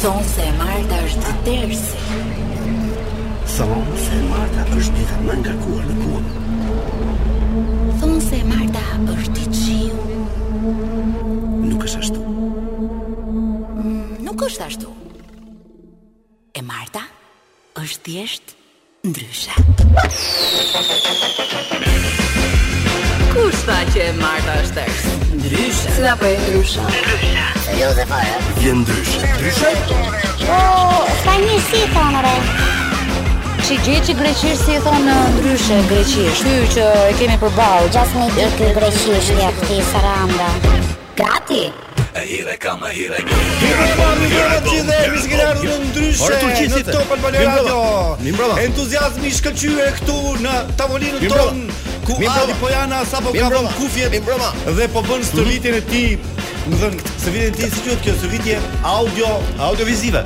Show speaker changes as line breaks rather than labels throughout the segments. Thonë se e Marta është tërsi.
Thonë se Marta është dita më nga kuar në kuar.
Thonë se e Marta është i qiu.
Nuk është ashtu.
Nuk është ashtu. E Marta është thjesht ndryshe. Kur s'tha që e Marta është tërsi? Ndryshe. Si da për e ndryshe?
Vjen ndryshe. Ndryshe?
Ka një si thonë re
Që gjë që greqisht si e thonë në ndryshe greqisht. Ky që e kemi përballë.
Gjas një ditë ky greqishtja këti saranda Gati
Gjithë e mishkëlarët në ndryshe në Top Albania
Mi
Radio.
mbrëma.
Entuziazmi i shkëlqyer këtu në tavolinën
Mi mbrëma.
tonë ku
Mi mbrëma.
Adi Pojana sapo
Mi
ka
mbrëma.
vënë kufjet
Mi mbrëma.
dhe po bën stërvitjen e tij. Më thënë, stërvitjen e tij si quhet kjo stërvitje audio,
Audiovizive.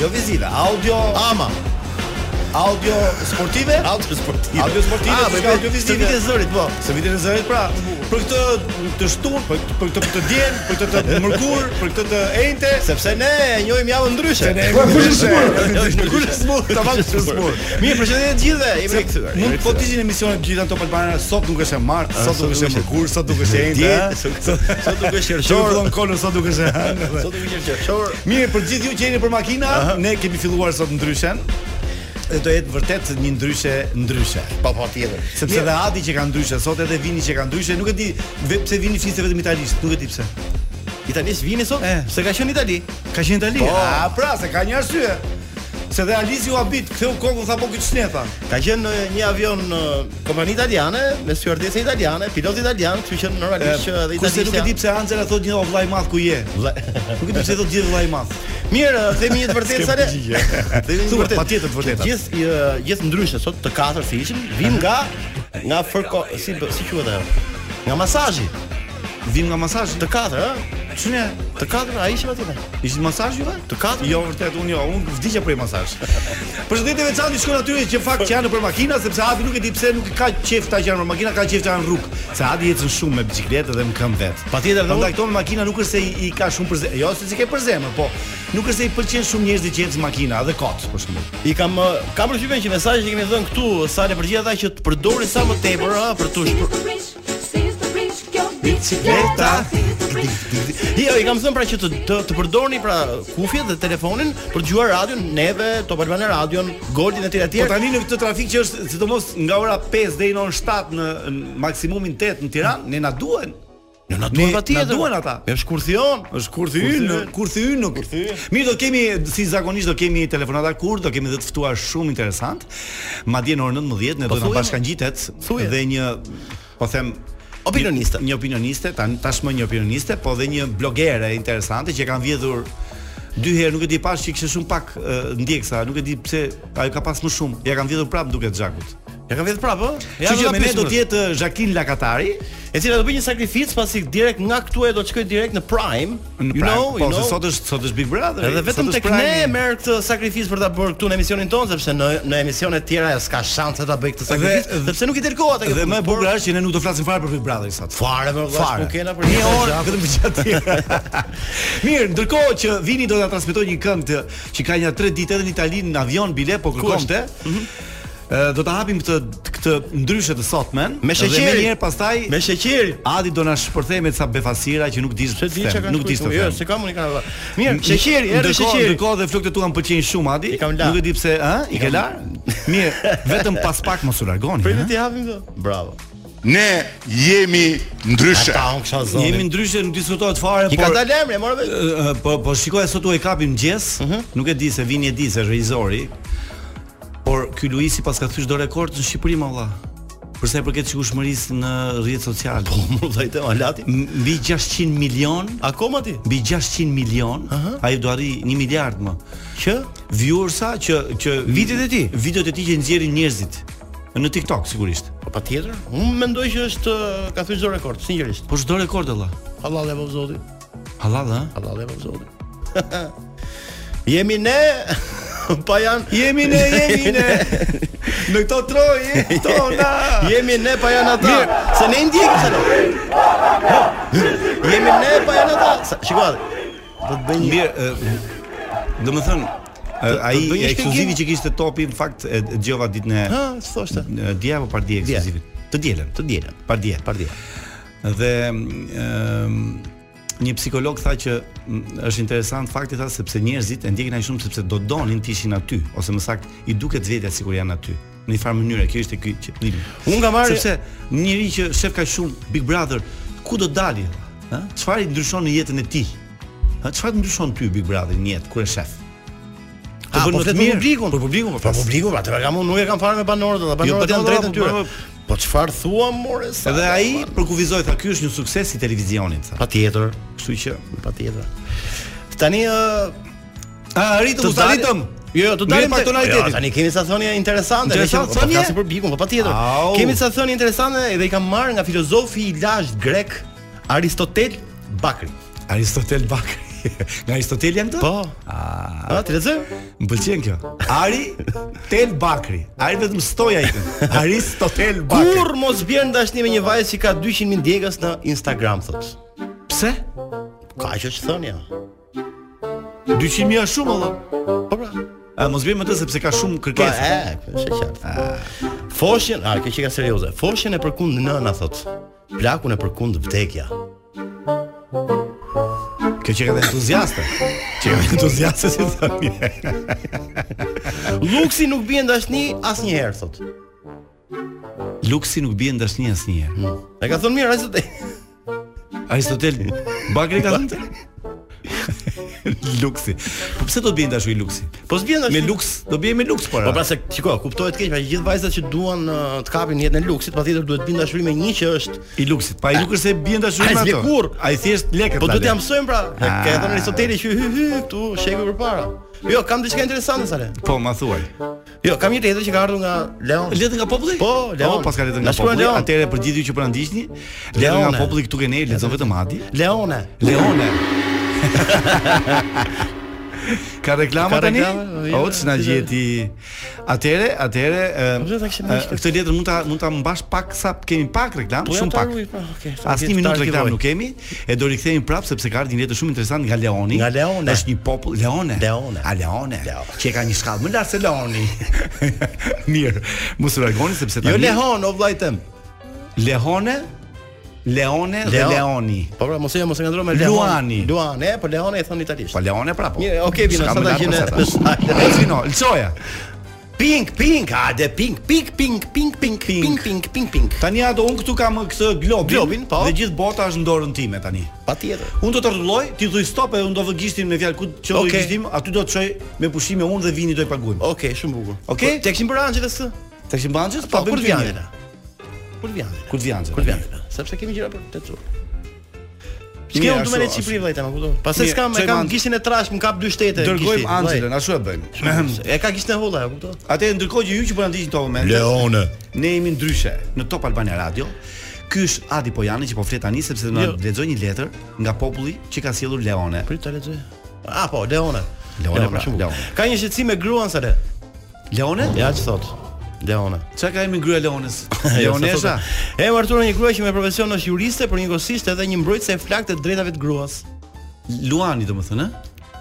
jo vizive, audio,
Ama.
audio sportive,
Audio sportive.
Audio sportive,
Ah,
s'ka
me
audiovizive.
Vitë e zërit, po.
stërvitjen e zërit pra. Për këtë të shtun, për këtë për këtë të djen, për këtë të mërkur, për këtë të ente,
Sepse ne e njohim javën ndryshe. Ne
kush e smur?
Kush e smur? Tamam kush e smur. Mirë, përshëndetje të gjithëve. Jemi rikthyer. jemi
Mund po të
rikthyer.
ishin emisione të gjitha Top Albana, sot nuk është e martë, sot
sot
nuk është e
nuk është e-
mërkur, sot nuk është e ende.
Diet,
ha?
sot- sot nuk është qershor.
Ju fillon kolën sot nuk është e hënë. dhe.
Sot u vjen qershor.
Mirë, për gjithë ju që jeni për makina, ne kemi filluar sot ndryshen. Dhe do jetë vërtet një ndryshe ndryshe.
Po po tjetër.
Sepse edhe Adi që ka ndryshe sot edhe Vini që ka ndryshe, nuk e di ve- pse Vini fliste vetëm italisht, nuk e di pse.
Italisht vini sot?
Eh.
Se ka qenë Itali.
Ka qenë itali.
Po.
A pra, se ka një arsye. Se dhe Alizi u habit, ktheu kokën tha po këtë shneta.
Ka qenë në një avion në kompani italiane, me stewardese italiane, pilot italian, kështu që normalisht që edhe
Kurse
italisht.
nuk e di pse Angela thotë një o vllai i madh ku je. Nuk e di pse thotë gjithë vllai i madh.
Mirë, themi një të vërtetë sa ne. Themi një të
Thuaj,
vërtetë.
patjetër të vërtetat.
Gjithë ë, gjithë ndryshe sot të katër si ishin, vim nga nga fërko, si bë- si quhet ajo? Nga masazhi.
Vim nga masazhi.
Të katër, ë?
Çune,
Të katër ai ishim atje.
ishit masazh juve?
Të katër?
Jo, vërtet, unë jo, unë vdiqja për masazh. Përshëndetje veçantë shkon aty që fakt që janë për makina, sepse Adi nuk e di pse nuk e ka qejf ta që janë për makina, ka qejf ta janë rrugë. Se Adi ecën shumë me biçikletë dhe më kam vet.
Patjetër dhe
Prandaj
unë
këto me makina nuk është se i, i ka shumë për zemër, jo se si ke për zemër, po nuk është se i pëlqen shumë njerëz që ecën makina, edhe kot për shembull. Po
i kam ë, kam përshtypjen që mesazhet që kemi dhënë këtu sa le për gjithë ata që të përdorin sa më tepër, ë, për të shpër...
Bicikleta.
Jo, i kam thënë pra që të të, të përdorni pra kufjet dhe telefonin për të dëgjuar radion, neve, Top Albana Radion, Goldin e tjerë e
Po
tjerë.
tani në këtë trafik që është sidomos nga ora 5 deri në orën 7 në, në maksimumin 8 në Tiranë, ne na duhen.
Jo, na
Ne-
duan patjetër.
na duan ata.
Me shkurthion.
Është kur thy hyn, kur thy hyn, kur thy. Mirë, do kemi si zakonisht do kemi telefonata kur, do kemi dhe të ftuar shumë interesant. Madje në orën 19 ne do të
Po thuaj,
bashkangjitet
thuaj.
dhe një po them
Opinioniste.
Një, një opinioniste, tan, tashmë një opinioniste, po dhe një blogere interesante që kanë vjedhur dy herë, nuk e di pas që kishte shumë pak e, ndjeksa, nuk e di pse ajo ka pas më shumë. Ja kanë vjedhur prapë duket Xhakut.
Ja kam vetë prapë, ë?
Kështu
do
që
ta
me ne
pyesim
do
unë.
të jetë e, Jacqueline Lakatari,
e cila do bëj një sakrificë pasi direkt nga këtu e do të shkoj direkt në Prime.
në
you
Prag,
know,
po
you know.
se sot është sot është Big Brother.
Edhe vetëm
sot
tek
është Prime.
ne merr këtë sakrificë për ta bërë këtu në emisionin tonë sepse në në emisione të tjera s'ka shans se ta bëj këtë sakrificë,
dhe-
sepse nuk i del koha tek.
Dhe më e bukur është që ne nuk do flasim fare për Big Brother sot.
fare më vllaç,
Fare.
nuk kena për
Një
këtë
orë
gjë.
vetëm për gjatë tjera. Mirë, ndërkohë që Vini do ta transmetojë një këngë të- që ka një 3 ditë edhe në Itali në avion bile po kërkonte.
Mhm.
Ë, Do ta hapim këtë këtë ndryshe të sotmen.
Me
Dhe
sheqer.
me një herë pastaj
Me sheqer.
Adi do na shpërthej me ca befasira që nuk di
Se di çka kanë.
nuk di
shkruar,
të
Jo,
them.
se kam unë i kanë. Mirë, sheqeri, erdhi
Ndërkohë-
sheqeri.
Ndërkohë dhe flokët tua më pëlqejnë shumë Adi.
I kam la.
Nuk e di pse, ë? I ke
kam-
la? Mirë, vetëm pas pak mos u largoni.
Pritë
ha?
ti hapim këto. Bravo.
Ne jemi ndryshe.
Ata unë kisha zonë.
Jemi ndryshe, nuk diskutohet fare,
Ki ka dalë emri, morë vetë.
Ë, po po shikoj sot u e kapim mëngjes, nuk e di se vini e di se është regjizori. Por ky Luisi pas ka thysh do rekord në Shqipëri më valla. Për sa i përket shikueshmërisë në rrjetet sociale. Po,
Mund të vajte Alati.
mbi 600 milion,
Akoma ti?
mbi 600 milion, ai do arri 1 miliard më.
Që?
Viewersa që që
Videot e tij?
videot e tij që nxjerrin njerëzit në TikTok sigurisht.
Po patjetër. Unë mendoj që është ë, ka thyer çdo rekord, sinqerisht.
Po çdo rekord valla.
Allah dhe vov zoti.
Halal, ha?
Allah dhe vov zoti. Jemi ne pa janë
Jemi ne, jemi ne. në këto troje tona.
Jemi ne pa janë ata. Se ne i ndjekim se ne. Jemi ne pa janë ata. Sa- Shiko. atë. Do të bëj një
Mirë, ë, Domethënë ë, ai
do ishte
ekskluzivi
gjë-
që kishte topi në fakt e e dëgjova ditën e
Ha, thoshte.
e, dje apo pardje
Dje.
ekskluzivit. Të dielën,
Të dielën.
pardje.
Pardje.
Dhe ëm një psikolog tha që mm, është interesant fakti tha sepse njerëzit e ndjekin ai shumë sepse do donin të ishin aty ose më saktë i duket vetja sikur janë aty në një farë mënyrë kjo ishte ky qëllimi.
Unë kam marrë-
sepse një njeri që shef ka shumë Big Brother, ku do dali? Ëh? Çfarë i ndryshon në jetën e tij? Ëh, çfarë të ndryshon ty Big Brother në jetë kur e shef? Të bën
Ha, po
më të
flet për
mirë.
publikun.
Për publikun, po
për
flas.
publikun, atë kam unë nuk e kam fare me banorët, ata
Jo, po,
banorët kanë
po,
drejtën
po,
tyre.
po,
Po çfarë thua more sa?
Edhe ai për kufizoi tha ky është një sukses i televizionit tha.
patjetër,
Kështu që
patjetër. Tani ë,
a ritëm u
dalim-
ritëm.
Jo, jo, të
Ngrim
dalim tek-
personalitetin.
Jo, tani kemi sa thonia interesante,
Interesante
po
thonie?
flasim për bikun, po patjetër.
Au.
Kemi sa thonia interesante dhe i kam marrë nga filozofi i lashtë grek Aristotel Bakri.
Aristotel Bakri. Nga Aristoteli janë këto?
Po. A, të lexoj?
Më pëlqen kjo. Ari Tel Bakri. Ari vetëm stoj ai. Aristotel Bakri.
Kur mos bjerë në dashni me një vajzë që ka 200.000 djegës në Instagram thot.
pse?
Ka që është thënia.
200 mijë është shumë valla.
Po pra.
A mos bëjmë atë sepse ka shumë
Po
kërkesë.
e, është e qartë. Foshin, a kjo që ka serioze. Foshin e përkund nëna thot. Plakun e përkund vdekja.
Kjo që ka dhe entuziaste. që ka dhe entuziaste si thoni.
Luksi nuk bie në dashni asnjëherë thot.
Luksi nuk bie në dashni asnjëherë.
E ka thënë mirë Aristotel.
Aristotel Bakri ka thënë. luksi. Po pse do të bëjnë dashuri luksi?
Po s'bien
Me
dashni.
luks, do bëjmë me luks por.
Po pra se shiko, kuptohet keq, pra gjithë vajzat që duan ë, të kapin jetën e luksit, patjetër duhet bin dashuri me një që është.
i luksit. Pa i nuk është se bien dashuri
Ai
me ato.
zgjekur.
Ai thjesht lekët.
Po
ta
duhet
le.
ja mësojmë pra. E Ka thënë Aristoteli që hy hy këtu sheku përpara. Jo, kam diçka interesante sa le.
Po, ma thuaj.
Jo, kam një letër që ka ardhur nga Leon.
Letën nga populli?
Po, Leon.
Po, paska letën
Na
nga
shkruan
populli.
Leon.
Atëherë për gjithë ju që po na ndiqni, letën nga
Leone.
populli këtu keni, lexon vetëm Adi.
Leone.
Leone. Ka reklama
Ka
tani?
reklama, jo,
O, ç'na
si do-
gjeti. Atëre, atëre, ë,
Po, ta kishim
ë,
miqtë.
këtë letër mund ta mund ta mbash pak sa kemi pak reklam,
Po,
shumë
ja ta
pak.
ruaj, po, okay, ta
Asnjë
gjithë
minutë
ta
reklam
arkivuaj.
nuk kemi, e do rikthehemi prap sepse ka ardhur një letër shumë interesante nga Leoni.
Nga Leone.
Është një popull Leone.
Leone.
A Leone.
Leone.
Që e ka një shkallë më lart se Leoni. Mirë, mos u largoni sepse tani
Jo Leon, o vllajtem.
Lehone, Leone dhe
Leon.
Leoni.
Po pra, mos e mos e ngandro me Leon.
Luani.
Luani, e, po Leoni e thon italisht.
Po Leone pra po.
Mirë, okay, Vino,
S'ka
sa
më
ta
lartë
gjene
pas ata.
mesazhe.
Vino, lçoja.
Pink, pink, a de pink, pink, pink, pink, pink, pink, pink, pink, pink.
Tani ato un këtu kam këtë globin,
Globin, po.
dhe gjithë bota është në dorën time tani.
Patjetër.
Unë do të rregulloj, ti thuj stop e unë do vë gishtin me fjalë ku që do
Okej.
gishtim, aty do të çoj me pushime unë dhe vini do i paguajmë.
Okej, shumë bukur.
Okej?
Po, Te kishim bërë anxheve së?
Tek Shimbanxhës,
Po,
pa
kur
bëjmë
vjen
vini.
ana? Kur vjen ana?
Kur të vjen.
Kur vjen ana? Sepse kemi gjëra për të çuar.
Mirë,
Shkëu unë
ashtu,
do më në
ashtu.
Çipri vllajta, më kupton? Pastaj
Mirë,
s'kam, e
çojmë
kam
Anxhel.
gishtin e trash, më kap dy shtete.
Dërgojmë
gishti,
Anxhelën, ashtu e bëjmë.
vllaj. E ka gishtin e holla, e kupton?
Atë ndërkohë që ju që po na ndiqni këto momente.
Leone.
Ne jemi ndryshe në Top Albania Radio. Ky është Adi Pojani që po flet tani sepse do na
Jo.
lexoj një letër nga populli që ka sjellur Leone.
Prit ta lexoj. Ah, po, Leone.
Leone,
pra,
pra,
shumë bukur.
Leone.
Ka një shqetësim me gruan sa le.
Leone?
Ja, që thot. Leone.
Çka ka emri grye Leones?
Jo,
Leonesha.
sa thotë. E martuar një grua që me profesion është juriste, por njëkohësisht edhe një mbrojtëse e flaktë të drejtave të gruas.
Luani domethënë, ë?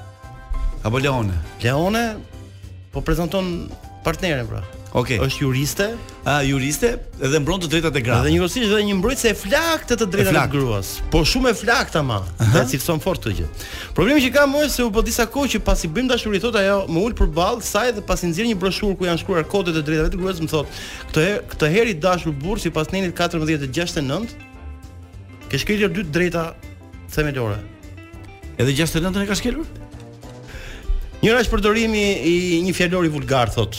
Apo Leone.
Leone po prezanton partnerin pra.
Okej.
Është juriste,
A juriste dhe mbron të drejtat e
edhe
grave.
njëkohësisht edhe një mbrojtëse e flaktë të drejtave
flakt.
të gruas. Po shumë e flaktë ama. Dhe cilson fort këtë gjë. Problemi që kam është se u po disa kohë që pasi bëjmë dashuri thotë ajo më ul përballë saj dhe pasi nxjerr një broshurë ku janë shkruar kodet e drejtave të gruas më thotë, "Këtë herë, këtë herë i dashur burr sipas nenit 1469 ke shkelur dy drejta themelore."
Edhe 69-ën e ka shkelur?
Njëra është përdorimi i një fjalori vulgar thot.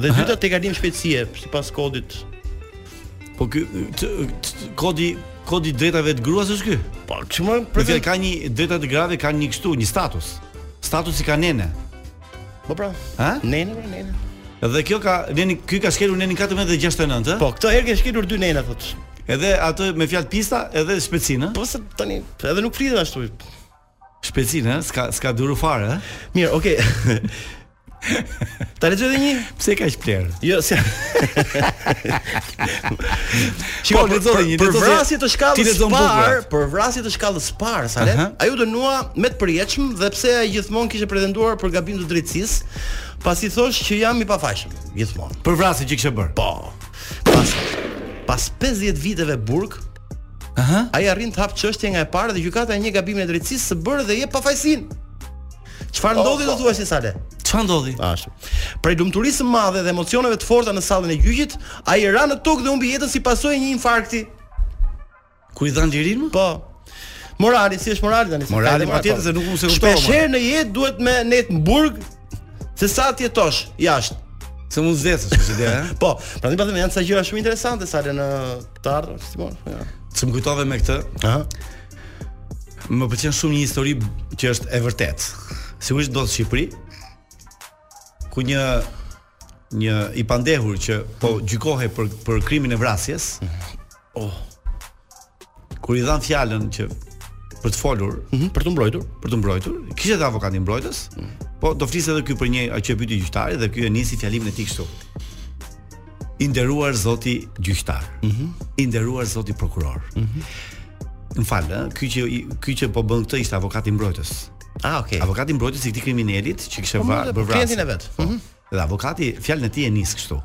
Dhe dyta tek alim shpejtësie sipas kodit.
Po ky t- t- kodi kodi drejtave të gruas është ky.
Po çmë
Për fjalë ka një drejtat e grave ka një kështu, një status. Statusi ka nene.
Po pra.
Ha?
Nene, pra, nene.
Dhe kjo ka neni ky ka shkelur neni 14 dhe 69, ë?
Po, këtë herë ke shkelur dy nena thot.
Edhe atë me fjalë pista, edhe shpecinë, ë?
Po se tani edhe nuk flitet ashtu.
Shpecinë, ë? S'ka s'ka duru fare, ë?
Mirë, okay. Ta lexoj edhe një?
Pse kaq pler?
Jo, si.
Po, lexo edhe një,
Për
lexo se-
vrasje të
ti
shkallës
lexon bukura.
par, për vrasje të shkallës par, sa le?
Aha.
Ajo dënua me të përjetshëm dhe pse ai gjithmonë kishte pretenduar për gabim të drejtësisë, pasi thosh që jam i pafajshëm, gjithmonë.
Për vrasje që kishe bër.
Po. Pas pas 50 viteve burg,
Aha.
ai arrin të hap çështje nga e parë dhe gjykata e një gabimin e drejtësisë së bërë dhe jep pafajsin. Çfarë ndodhi do thuash sa le?
Çfarë ndodhi?
Ashtu. Prej lumturisë së madhe dhe emocioneve të forta në sallën e gjyqit, ai ra në tokë dhe humbi jetën si pasojë e një infarkti.
Ku i dhan lirin më?
Po. Morali, si është morali tani? Si
Morali,
ka edhe
po,
morali,
tjetër
po.
se nuk mu se kuptova,
Shpesh
more.
herë në jetë duhet me net në burg se sa ti jetosh jashtë.
Se mund zdesësh, kështu ide, ha?
Po, prandaj pastaj janë disa gjëra shumë interesante sa le në të ardhmë, Simon. po, Ja.
Të më kujtove me këtë,
Aha.
më pëlqen shumë një histori që është e vërtetë. Sigurisht do të Shqipëri, ku një një i pandehur që po gjykohej për për krimin e vrasjes. Oh. Kur i dhan fjalën që për të folur,
Hmm? Për të mbrojtur.
për të mbrojtur, kishte edhe avokatin mbrojtës, po do flisë edhe ky për një atë që e pyeti gjyqtari dhe ky e nisi fjalimin e tij kështu. I nderuar zoti gjyqtar. I nderuar zoti prokuror. Më fal, ë, ky që i- ky që po bën këtë ishte avokati mbrojtës.
Ah, okay.
Avokati mbrojtës i këtij kriminalit që kishte
mirë,
varë
po,
për vrasje.
klientin e vet.
Po. Dhe avokati fjalën e tij e nis kështu.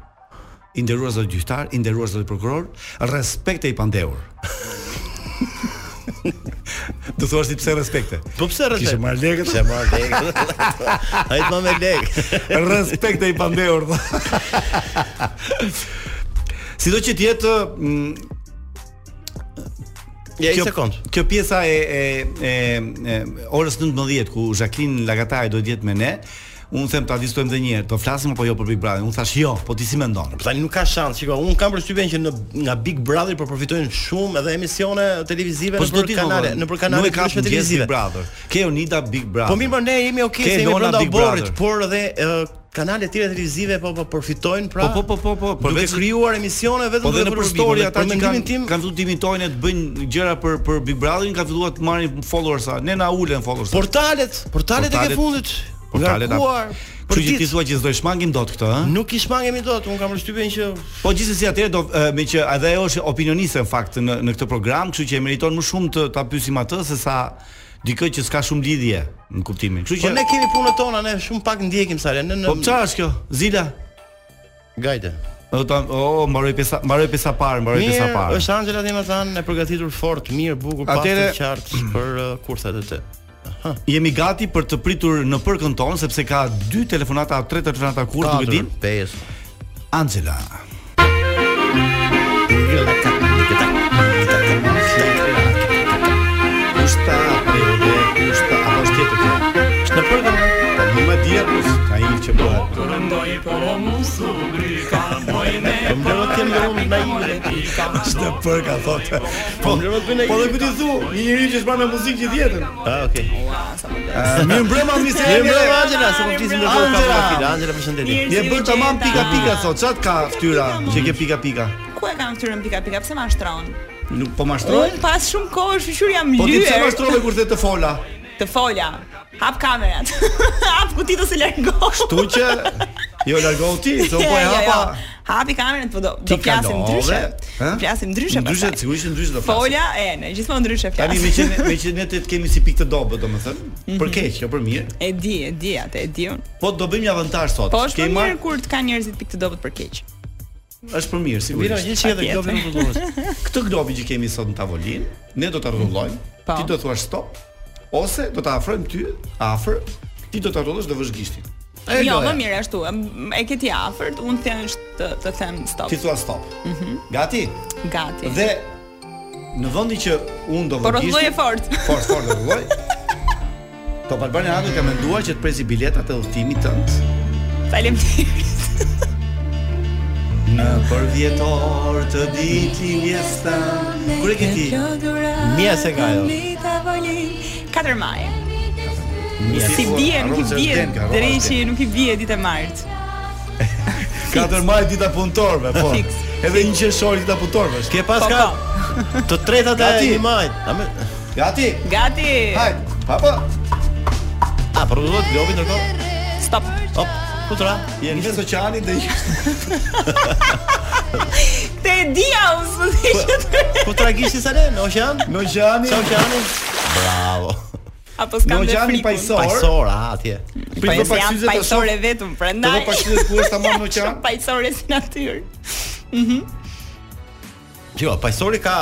I nderuar zoti gjyqtar, i nderuar zoti prokuror, respekte i pandehur. Do thuash ti pse respekte?
Po pse rreth?
Kishte marrë lekët.
Kishe marrë lekët. Ai të më lekë.
Respekte i pandehur. tha. Sido që të jetë mm,
Ja, një sekond.
kjo pjesa e e e, e orës 19 ku Jacqueline Lagataj do të jetë me ne, unë them ta diskutojmë edhe një herë, do flasim apo jo për Big Brother? Unë thash jo, po ti si mendon?
Tani nuk ka shans. Shiko, un kam përshtypjen që në nga Big Brother po përfitojnë shumë edhe emisione televizive
Po
në
çdo
për
ditë
kanale,
valla,
në për kanale
nuk e
të
ka mëngjes
ndryshme
Big
televizive.
Brother. Ke Unida Big Brother.
Po mirë, po ne jemi okay,
Ke
se jemi
Lona
brenda
Big
oborrit,
Brother.
por edhe ë, kanale të tjera televizive po po përfitojnë pra.
Po, po, po, po, po,
Duke
përveç-
krijuar emisione vetëm
Po dhe
për
në
për
përstori
publikun.
ata
Për
që
mendimin
kanë
tim
kanë filluar dimitojnë të bëjnë gjëra për për Big Brotherin, kanë filluar të marrin followersa. Ne na ulën followersa.
portalet, portalet e ke
Portalet-
fundit.
portalet na-
ngarkuar
Kështu
për
që ti
ditë.
thua që s'do i shmangim dot këtë, ëh?
Nuk i shmangemi dot, un kam përshtypjen që
Po gjithsesi atëherë do e, me që edhe ajo është opinioniste në fakt në në këtë program, kështu që e meriton më shumë të ta pyesim atë se sa dikë që s'ka shumë lidhje në kuptimin. Kështu
po
që
ne kemi punën tona, ne shumë pak ndjekim sa le, ne në
Po çfarë është kjo? Zila.
gajde.
O ta o mbaroi pesa mbaroi pesa parë, mbaroi pesa
Mirë,
Po, parë.
është Angela dhe më thanë, e përgatitur fort, mirë, bukur,
Atëre-
pastë qartë për uh, kurset e të.
Jemi gati për të pritur në përkën tonë sepse ka dy telefonata, tre telefonata kur nuk e dim.
5.
Angela.
Kushta prende, kushta apo është tjetër kjo? Është në përkën. Po më më dia kus, ka i që bëhet.
Po më lërë të kemë lërë unë në një.
Është për ka thotë. Po,
lërë të bëjnë
Po dhe ku ti thu, një njeri që shpan me muzikë gjithë jetën. Eh,
Ah, okay.
mirë mbrëma mister.
Mirë, bravo Angela, se po flisim në dorë
Angela.
ka fila. Angela, përshëndetje.
Je bërë tamam pika pika sot. Çat ka fytyra që ke pika pika?
Ku e kam ktyrën pika pika? Pse ma shtron?
Nuk po mashtroj.
Un pas shumë kohë shqyr jam
Po ti pse
lyer
mashtrove kur the të fola?
të folja. Hap kamerat. Hap kutitës e largohu.
Tu që jo largohu ti, se unë po e
Jo, jo,
hapa.
jo. Hapi kamerën, po do, do
Ti
flasim
kalove,
ndryshe.
ha?
Flasim ndryshe.
Ndryshe,
pastaj.
sigurisht ndryshe do flasim.
Folja, e, ne gjithmonë ndryshe flasim.
Tani me që ne- me që ne të të kemi si pikë të dobët, domethënë,
Mhm.
për keq, jo për mirë.
E di, e di atë, e di unë.
Po do bëjmë një avantazh sot.
Po është
Ke
më
marrë-
mirë kur të kanë njerëzit pikë të dobët për keq.
është për mirë,
Mirë,
sigurisht.
gjithë që edhe globi nuk do të
Këtë globi që kemi sot në tavolinë, ne do ta rrotullojmë.
Po.
Ti do thua stop ose do ta afrojmë ty afër, ti do ta rrotullosh do vësh gishtin.
Jo, më mirë ashtu. m- E ke ti afërt, unë thjesht të, të them stop.
Ti thua stop.
Mhm.
Gati?
Gati.
Dhe në vendin që unë do
Po
vë
rrotulloje
gishtin-
fort.
Fort, fort do rrotulloj. Top Albania Radio ka menduar që të presi biletat e udhëtimit tënd
Faleminderit.
në përvjetor të ditëlindjes tënd. Kur e ke ti?
Mia se ka ajo.
4 maj.
Mjaftë.
Si bie, nuk i
Arroz
bie.
Arden, ka arroz
Dreqi nuk i bie ditë e martë.
4 maj dita punëtorëve, po.
Fix.
Edhe një qershori dita punëtorëve. është.
Ke pas
Po,
ka
po.
të tretat e
Gati.
një majt. A me
Gati?
Gati.
Hajt. Hapa.
a për do të globi ndërkohë?
Stop.
Hop. Kutra.
Jenë mes oqeanit dhe
Te e dia unë s'më
Po,
thishtë
Kutra gishti sa ne, në oqean?
në oqeanin,
Sa oqeani? Bravo.
Apo s'kam
në
dhe
oqeanin
frikun
pajsor,
Pajsor, a atje.
prit
Po
për
se jam
paksyze të shoh.
pajsore vetëm
Po
prandaj.
do paksyze ku është tamam në oqean.
Shumë pajsore si natyrë.
Jo, pajsori ka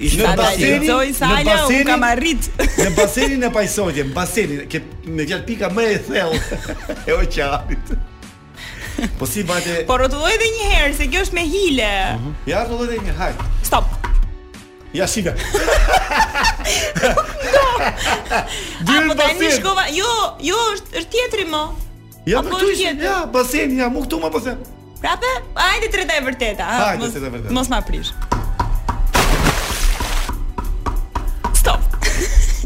ishte
Në
Sa
basenin-
analizoj
në
sala, unë
basenin-
kam arrit.
Në basenin e pajsotje, në basenin, ke me fjalë pika më e thellë e oqeanit. Po si bate,
Po rrotulloj edhe një herë se kjo është me hile.
ja rrolloj dhe një hajt.
Stop.
Ja shive.
Apo tani
basen.
shkova. Jo, jo, është është tjetri më.
Ja
Apo
për ty,
tjetër.
ja baseni, ja mu këtu më pse.
Prapë, hajde treta e vërteta. ha,
Hajde,
mos-
treta e vërteta.
Mos ma prish. Stop.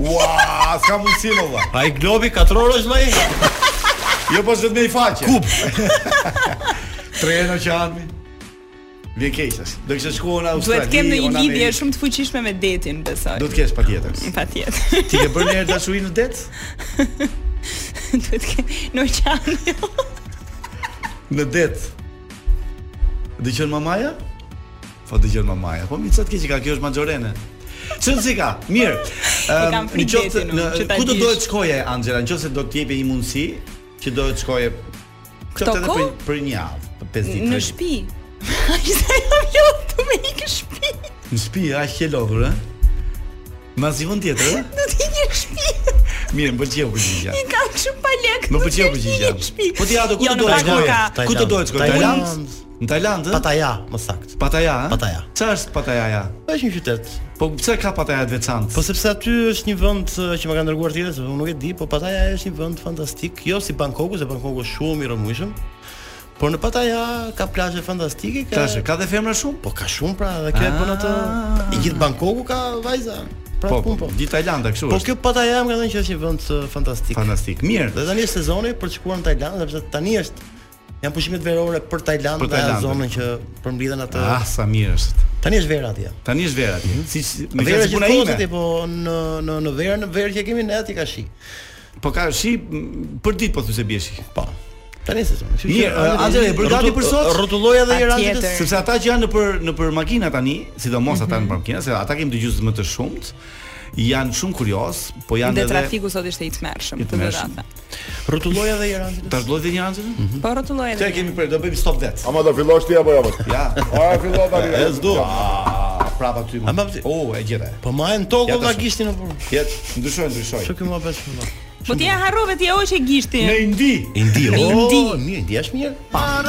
Ua, s'ka mundsi më valla.
Ai globi katror është vllai?
Jo po zot me i faqe. Kup. Tre në oqean. Vjen keq tash. Do kisha shkuar në Australi.
Duhet të kem në një
unë në
lidhje
Amerikë.
shumë të fuqishme me detin, besoj.
Do të kesh patjetër.
Patjetër.
Ti ke bërë një herë dashuri në det?
Duhet të kem në oqean.
Në det. Dëgjon mamaja? Po dëgjon mamaja. Po mi çat keq i ka, kjo është Maxorene. Çon si ka? Mirë. Ëm,
kam frikë
qoftë
detin unë, që ta
ku do
dish.
dohet shkoje Angela, nëse do të jepje një mundësi që do të shkoje qoftë edhe
kohë?
për- për një javë, për 5 ditë.
Në
tre ditë.
shtëpi. Ai sa jam lodhë me ikë shtëpi.
Në shtëpi, aq ke lodhur, ë? Ma si vend tjetër, ë?
Do të ikë shtëpi.
Mirë, më pëlqeu përgjigja.
I kam shumë pa
Më
lekë. do
pëlqeu
t'jek
përgjigja.
një shtëpi.
Po ti ato ku
Jo,
do
në
dohet
fakt nuk
shkoje?
ka.
Ku do dohet shkoje?
Tajland.
Tajland? Në Tajland, ë?
Pataja, më sakt.
Pataja, ë?
Pattaya.
Çfarë është Pataja? ja?
Është një qytet.
Po pse ka Pataja të veçantë?
Po sepse aty është një vend eh, që më ka dërguar tjetër, se unë nuk e di, po Pataja është një vend fantastik, jo si Bangkoku, se Bangkoku është shumë i rëmujshëm. Por në Pataja ka plazhe fantastike, ka
Tash, ka dhe femra shumë?
po ka shumë pra, dhe kjo e bën atë i gjithë Bangkoku ka vajza. Pra
Po,
po, pun po.
di Tajlanda kështu
Po
është.
kjo Pataja më ka thënë që është një vend eh, fantastik.
Fantastik. Mirë.
Dhe tani është sezoni për të shkuar në Tajland, sepse tani është janë pushimet verore për Tajland,
Për
për Tajland.
Tajlandën.
zonën që përmbledhen atë.
Ah, sa mirë është.
Tani është vera atje.
Tani është vera ti. Si me
Mhm. Po, Vera
fjalë
që
puna
kozit,
ime.
po në në në verë, në verë që kemi ne aty ka shi.
Po ka shi m, për ditë po thjesht bie shi.
Po. Tani se thonë. Kështu që
Mirë,
Angela,
Angela, e bërë gati
rrotu-
për sot?
Rrotulloj edhe një rand
Patjetër.
të
Sepse ata që janë në për në për makina tani, sidomos ata
Mhm.
në për makina, se ata kemi dëgjues më të shumtë, janë shumë kurioz, po janë
Dhe
edhe
trafiku sot ishte i tmerrshëm,
I
të
tmerrshëm.
vërtetë.
rrotulloj edhe një rand
Ta zgjohet një anë.
Mhm.
Po rrotulloj
Këtë
edhe.
e kemi për do bëjmë stop vet.
Ama do fillosh ti apo jo? mos?
Ja.
A fillon tani.
E s'do. Ah, Prapa ty.
Ama-
Oh, e gjeta.
Po majën tokë
Ja,
po, nga
tash.
gishti në punë.
Jet, ndryshoj, ndryshoj.
Ço këmo pas më.
Po ti e harrove ti oqe gishti.
Në Indi. oh,
Indi, o,
Indi.
mirë, indi është mirë. Pa.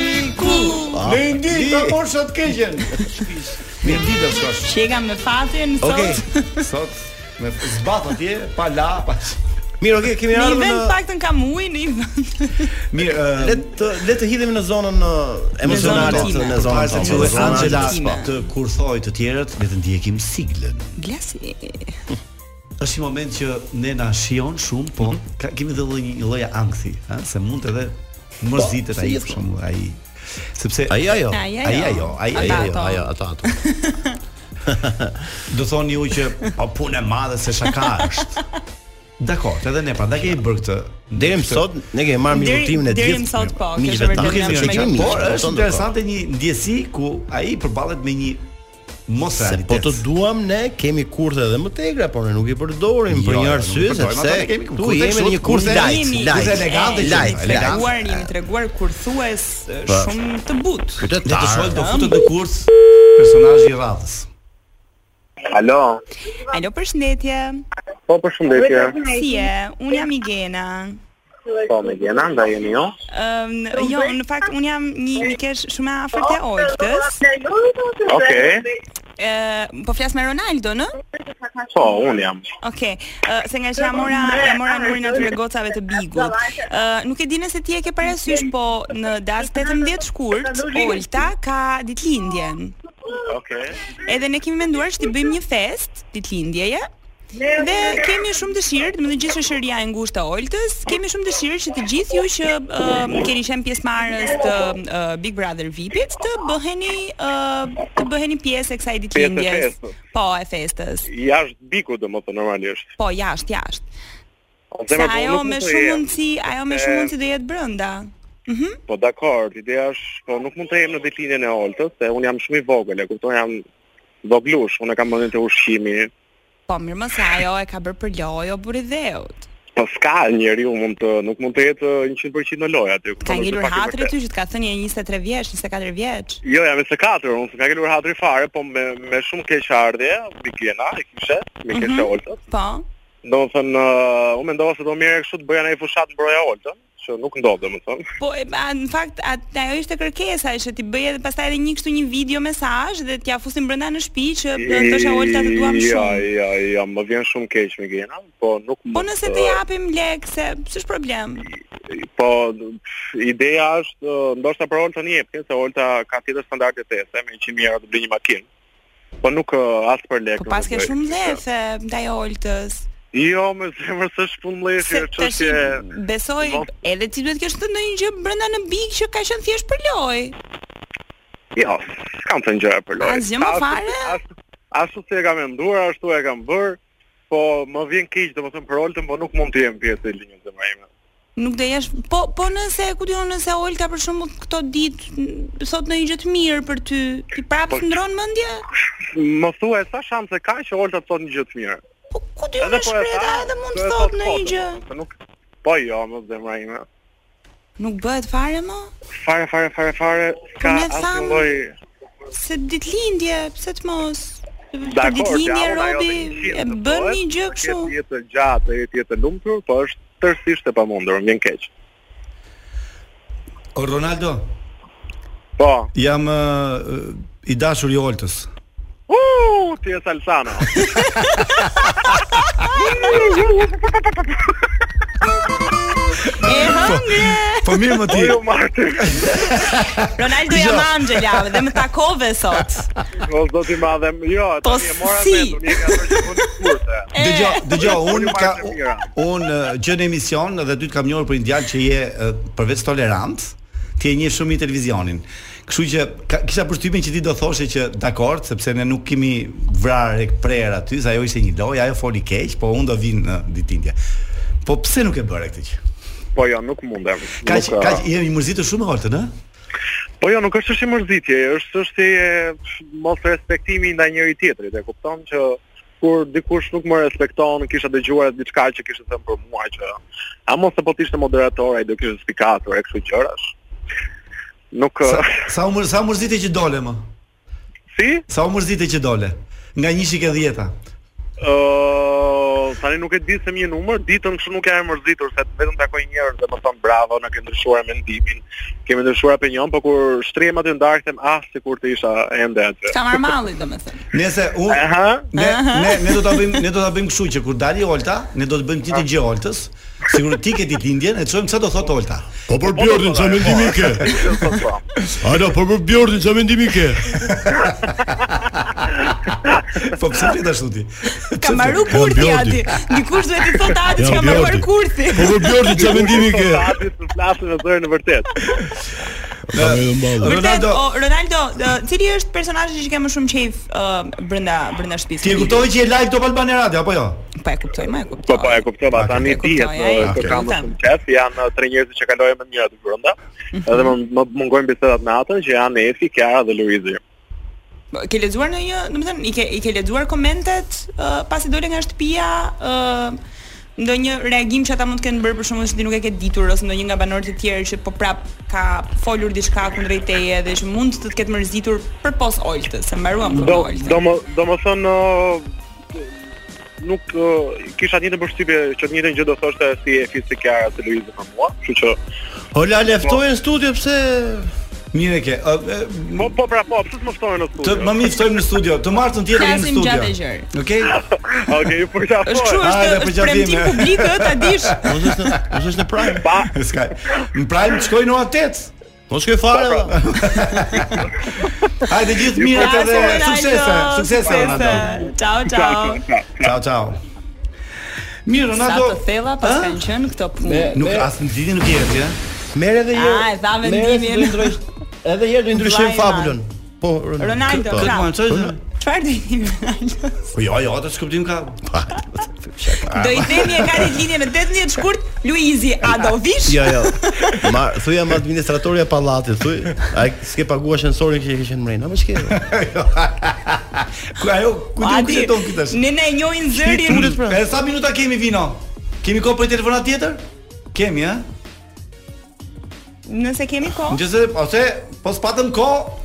Në Indi ka porshë të keqen. Në Indi do shkosh.
Shega me fatin sot.
Okej.
Sot me zbat atje, pa la, pa.
Mirë, okay, kemi
Në një
ardhur
vend
në
paktën kam ujë në një vend.
Mirë, ë,
le të le të hidhemi në zonën ë, emocionale
zonën time.
të- në
Po
zonën
parë se që
tonë.
Angela
time.
të kur thoi të tjerët, le të ndjekim siglën.
Glasi.
Është një moment që ne na shijon shumë, po
Mhm.
ka, kemi edhe lloj një lloj ankthi, ha, se mund edhe mërzitet
se
ai për
gjithmonë.
shembull, ai. Sepse
Po, Ai ajo.
Ai ajo.
Ai ajo, ai
Ata
ajo,
ato.
Ajo, ato ato.
do thoni ju që po punë e madhe se shaka është. Dakor, edhe ne prandaj kemi bërë këtë.
Deri më sot ne kemi marrë
Deri-
minutimin e
deri
gjithë.
më sot po, kjo
miqve
është
tanë.
vërtet
Nuk kemi
Kemi
një
qenë
gjë,
miq,
por është
tonë,
interesante një ndjesi ku ai përballet me një mos
Se
realitet.
po të duam ne kemi kurthe edhe më tegra, por ne nuk i përdorim për
Jo,
një
jo,
arsye
nuk përdojmë,
sepse
ata ne kemi
tu
kurthe
jemi në
kështu,
një kurs
kurthe
light,
Jemi-
light,
kurthe elegante,
Ej,
light,
që-
Jemi
light.
treguar, jemi treguar kurthues eh,
Po.
shumë të butë.
Le Po të shohim do
Ëm.
futet në kurs personazhi i radhës.
Alo,
Alo, përshëndetje.
po përshëndetje.
Si je? Un jam Igena.
Po me gjena, nda jeni ju.
Ëm, jo, në fakt un jam një mikesh shumë e afërt e Oltës.
Okej,
Ë, po flas me Ronaldo, në?
po, unë jam.
Okej, ë, se nga që ja mora, ja mora numrin e atyre gocave të bigut. Ë, nuk e di nëse ti e ke parasysh, po në datë 18 shkurt, Olta ka ditëlindjen.
Okej,
Edhe ne kemi menduar që ti bëjmë një fest ditëlindjeje. Dhe kemi shumë dëshirë, do të gjithë shoqëria e ngushtë e Oltës, kemi shumë dëshirë që të gjithë ju që uh, keni qenë pjesëmarrës të uh, Big Brother VIP-it të bëheni uh, të bëheni pjesë e kësaj ditëlindjes.
festës.
Po, e festës.
jashtë biku dhe më të normalisht.
Po, jashtë, jashtë.
O,
Se
zemër, po,
ajo
nuk
me
më të
shumë
jem.
mundësi, ajo me shumë
Se-
mundësi do jetë brenda.
Po dakor, ideja është, po nuk mund të jem në ditëlindjen e oltës, se unë jam shumë i vogël, e kupton, jam voglush, unë e kam mendin të ushqimi.
Po mirë më se ajo e ka bërë për lojë o burri dheut.
Po s'ka njeriu mund të nuk mund të jetë uh, 100% në lojë aty.
Ka
kupton, është
ngelur
pak e
hatri
vërtetë.
ty që të ka thënë je 23 vjeç, 24 vjeç.
Jo, jam 24, unë s'ka ngelur hatri fare, po me, me shumë keq ardhje, bigjena e kishe, me keq mm oltës.
Po.
Do më thënë, uh, unë mendova se do mire kështu të bëja në i fushat në broja oltën, që nuk ndodhë, do më thënë.
Po e, a, në fakt at- ajo ishte kërkesa që ti bëje edhe pastaj edhe një kështu një video mesazh dhe t'ja fusim brenda në shtëpi që do të Olta të duam
Ja,
shumë.
ja, ja, më vjen shumë keq me gjena, po nuk mund.
Po nëse të japim lek se s'është problem.
Po pff, ideja është ë, ndoshta për Olta një jepin, se Olta ka tjetër standarde të tjera, me 100 euro të bëj një makinë. Po nuk ë, as për lek.
Po pas ke
nuk e bëj.
shumë lefe ndaj Oltës.
Jo, me zemër së shpun
Se
lefi,
tash
çështje.
besoj
Po.
edhe ti duhet të kesh të ndonjë gjë brenda në big që ka qenë thjesht për lojë.
Jo, s'kam të ngjëra për lojë.
Asgjë më
Ashtu-
fare?
ashtu- Ashtu si e kam menduar, ashtu e kam bërë, po më vjen keq, domethënë për Oltën, po nuk mund të jem pjesë e linjës zemrime.
Nuk do jesh, po po nëse ku diun nëse Olta për shembull këto ditë n- thot ndonjë gjë të mirë për ty, ti prapë
Po-
po, ndron mendje?
Më thuaj sa shanse ka që Olta të thotë një gjë të mirë.
Po ku diun në shpreta edhe mund të thot ndonjë gjë.
Po nuk po jo, më zemra ime.
Nuk bëhet fare më?
Fare fare fare fare ka
ne
asnjë
thamë,
lloj
Se ditëlindje, pse të mos? Për
dakord.
ditëlindje
ja, unë ajo
Robi
të një
e
qindë të
bën
bëhet,
një gjë
të
kështu.
Jetë jetë e gjatë, jetë jetë e lumtur, po është tërësisht e pamundur, më vjen keq.
O Ronaldo,
Po.
jam ë, i dashur i Oltës.
Uh, ti je Salsano.
E hëngë.
Po mirë më ti.
Po ju martë.
Ronaldo
Jo.
jam Angela dhe më takove sot.
O zoti madhe. Jo,
Po
tani e mora
si?
vetë, unë jam për të punë kurse.
Dëgjoj, dëgjoj, un
Unë
ka
marrë të mira.
un gjë në emision dhe ty të kam njohur për një djalë që je ë, përveç tolerant, ti e njeh shumë i televizionin. Kështu që ka, kisha përshtypjen që ti do thoshe që dakor, sepse ne nuk kemi vrarë prer aty, se ajo ishte një lojë, ajo foli keq, po unë do vin në ditindje. Po pse nuk e bëre këtë gjë?
Po jo, nuk mundem.
Kaq
Nuk,
kaq jemi mërzitur shumë me Oltën, ë?
Po jo, nuk është është i mërzitje, është është i mos respektimi ndaj njëri tjetrit. E kupton që kur dikush nuk më respekton, kisha dëgjuar diçka që kishte thënë për mua që a mos se po të ishte moderator, ai do kishte spikatur e kështu gjërash. Nuk
Sa sa u mër, sa u mërzite që dole më?
si?
Sa u mërzite që dole? Nga 1 shik e 10-a.
ë Po, tani nuk e di se më një numër, ditën kështu nuk jam e mërzitur se vetëm takoj njerëz dhe më thon bravo, na ke ndryshuar mendimin, kemi ndryshuar opinion, po kur shtrihem aty ndarë them ah sikur të isha ende aty.
Ka marr malli domethënë.
Nëse unë
Aha.
Ne ne ne do ta bëjmë ne do ta bëjmë kështu që kur dali Olta, ne do të bëjmë ti të gjë Oltës. Sigur ti ke ditëlindjen, e çojmë çfarë do thot Olta.
Po për Bjordin çfarë mendimi ke?
Po, po.
Alo, po për Bjordin çfarë mendimi ke?
Po pse flet ashtu ti?
Ka marru kurthi aty. Dikush duhet të thotë atë që
Jam
ka marruar
Bjordi.
kurthi.
Po për Bjordin çfarë mendimi ke?
Ati Po, të flasin me zërin e vërtet.
Ka më edhe mallë.
Vërtet,
Ronaldo-
o, Ronaldo, ë, cili është personazhi që ke më shumë qejf ë, brenda brenda shtëpisë?
Ti e kuptove që je live Top Albania Radio apo jo?
Po e kuptoj, më e kuptoj.
Po po e kuptova, tani
Ah, e kuptoj,
dihet
e, e
ë, që
kuptoj.
kam më shumë qef, janë ë, tre njerëz që kalojnë me njëra të brenda. Edhe më më mungojnë bisedat me atën që janë Efi, Kiara dhe Luizi.
Po, Ke lexuar në një, domethënë i ke i ke lexuar komentet uh, pasi dole nga shtëpia ë ndonjë reagim që ata mund të kenë bërë për shkakun se ti nuk e ke ditur ose ndonjë nga banorët e tjerë që po prap ka folur diçka kundrejt teje dhe që mund të të ketë mërzitur përpos Oltës, se mbaruam me
Do do
Oltën.
më do më thënë ë, nuk ë, kisha një të përshtypje që të njëjtën gjë do thoshte si Efi, si Kiara, si Luizi për mua, kështu që
Hola, le ftojë në studio pse
Mirë e ke. ë, ë,
po po pra po, pse të më ftohen në
Të
studio?
më mi ftojmë në studio. Të martën tjetër jemi në
Flasim gjatë e
studio.
gjerë.
Okej?
Okej, po ja.
Është kështu,
Hajde,
është,
po
është
gjatë
premtim
jemi.
publik, ë, ta dish.
mos është në- mos është në prime.
Pa,
Ska. Në Prime shkoj në 8.
Mos shkoj fare.
Po,
valla.
Hajde gjithë mirët
Bravo,
edhe
Ronaldo,
suksese, suksese Ronaldo.
Ciao, ciao.
Ciao ciao. Mirë
Sa
Ronaldo.
të thella pas kanë qenë këto punë.
Nuk as në ditën nuk jeti, ë?
Merë edhe një.
Ah, e tha
merë
vendimin.
se do i ndroj- Edhe herë do i ndryshojmë
Vllai i
fabulën. Po, Ron-
Ronaldo,
Po,
bravo.
Ma çoj.
Çfarë do i jemi Ronaldo?
Po jo, jo, atë skuptim ka.
Do i themi e ka një linje me 18 shkurt Luizi, a do vish?
Jo, jo. Ma thuj jam administratori i pallatit, thuj. A s'ke paguar ascensorin që e ke qenë mrenë? Apo ç'ke?
Ku ajo, ku ti
Po, Adi,
kushton këtë tash?
ne ne e njohin
Ti
zërin.
tulet pra. E sa minuta kemi vino? Kemi kohë për një telefonat tjetër? Kemi, ha?
Nëse kemi kohë.
Nëse ose po s'patëm kohë,